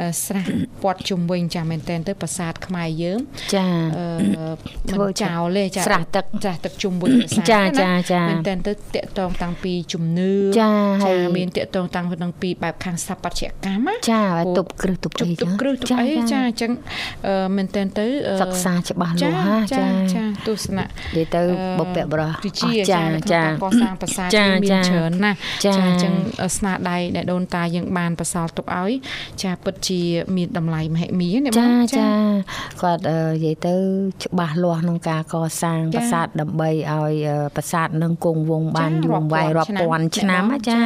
A: អឺស្រះពាត់ជុំវិញចាមែនតើទៅប្រាសាទខ្មែរយើង
B: ចា
A: អឺ
B: ធ្វើ
A: មិនចោលទេចា
B: ស្រះទឹក
A: ចាស់ទឹកជុំវិញប្រាសាទ
B: ចា
A: ណា
B: ចាចា
A: មែនតើទៅតកតងតាំងពីជំនឿ
B: ចាហើយ
A: មានតកតងតាំងពីនឹងពីបែបខាងស្ថាបត្យកម្មណា
B: ចាហើយទប់គ្រឹះទប់អី
A: ទប់គ្រឹះទប់អីចាអញ្ចឹងមែនតើទៅ
B: សិក្សាច្បាស់លាស់ណាចា
A: ចាទស្សនៈ
B: និយាយទៅបុព្វបុរស
A: ជាចាចាកសាងប្រាសាទមានច្រើនណាស់ចាអញ្ចឹងស្នាដៃដែលដូនតាយើងបានបន្សល់ទុកឲ្យចាពិតជាមានតម្លៃមហិមាណា
B: ចាចាគាត់និយាយទៅច្បាស់លាស់ក្នុងការកសាងប្រាសាទដើម្បីឲ្យប្រាសាទនឹងគង់វង្សបានយូរអង្វែងរាប់ពាន់ឆ្នាំចា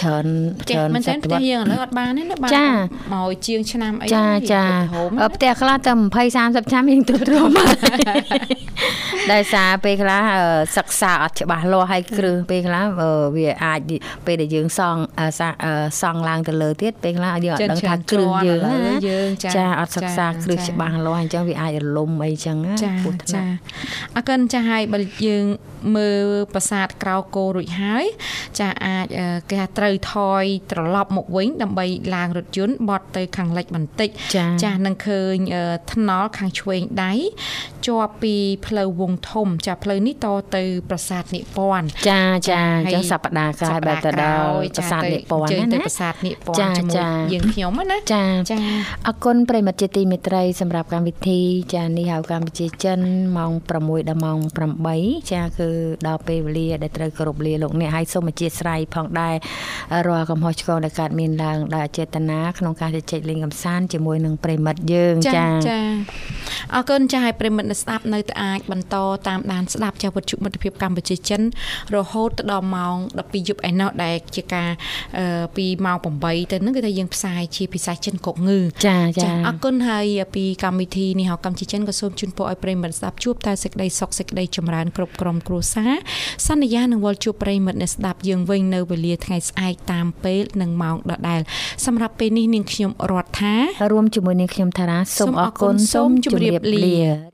B: ច្រើនច្រើន
A: សតវត្សយើងឥឡូវអត់បានទេណាបានមកជាងឆ្នាំអី
B: ចាចាផ្ទះខ្លះតែ20 30ឆ្នាំយើងទ្រាំបាន ដោយសារពេលខ្លះសិក្សាអត់ច្បាស់លាស់ហើយគ្រឹះពេលខ្លះវាអាចពេលដែលយើងសង់សង់ឡើងទៅលើទៀតពេលខ្លះយើងអត់ដឹងថាគ្រឹះយើងណាចាអត់សិក្សាគ្រឹះច្បាស់លាស់អញ្ចឹងវាអាចរលំអីចឹងណា
A: ពោះថ្នាក់អកិនចាឲ្យបើយើងមើលប្រាសាទក្រៅគោរួចហើយ ចាអាចគេថាត្រូវថយត្រឡប់មកវិញ ដើម្បីឡើងរថយន្តបត់ទៅខាងលិចបន្តិចចានឹងឃើញថ្នល់ខាងឆ្វេងដៃជាប់ពីផ្លូវវងធំ ចាផ្លូវនេះតទៅប្រាសាទនិពន្ធ
B: ចាចាអញ្ចឹងសប្តាហ៍ក្រោយបែបទៅដល់ប្រាសាទនិពន្ធ
A: ណាប្រាសាទនិពន្ធជាមួយយើងខ្ញុំណា
B: ចាចាអរគុណប្រិមត្តជាទីមេត្រីសម្រាប់កម្មវិធី ចានេះហៅកម្ពុជាចិនម៉ោង6ដល់ម៉ោង8ចាគឺដល់ពេលវេលាដែលត្រូវគោរពលាលោកអ្នកហើយសូមអធិស្ឋានផងដែររាល់កំហុសឆ្គងដែលកើតមានឡើងដោយចេតនាក្នុងការជជែកលេងកម្សាន្តជាមួយនឹងប្រិមិត្តយើងចា
A: ៎ចា៎អរគុណចា៎ឲ្យប្រិមិត្តស្ដាប់នៅតែអាចបន្តតាមដានស្ដាប់ចាវត្ថុមិត្តភាពកម្ពុជាចិន រហូតដល់ម៉ោង12យប់ឯណោះដែលជាការពីម៉ោង8ទៅនឹងគឺថាយើងផ្សាយជាភាសាចិនគកងឺ
B: ចាចា
A: អរគុណហើយពីកម្មវិធីនេះហៅកម្ពុជាចិនក៏សូមជូនពរឲ្យប្រិមិត្តស្ដាប់ជួបតែសេចក្តីសុខសេចក្តីចម្រើនគ្រប់ក្រុមគ្រួសារសន្យានឹងវិលជួបប្រិមិត្តអ្នកស្ដាប់យើងវិញនៅវេលាថ្ងៃស្អែកតាមពេលនិងម៉ោងដដែលសម្រាប់ពេលនេះនាងខ្ញុំរដ្ឋា
B: រួមជាមួយនាងខ្ញុំតារាសូមអរគុណសូមជម្រាបលា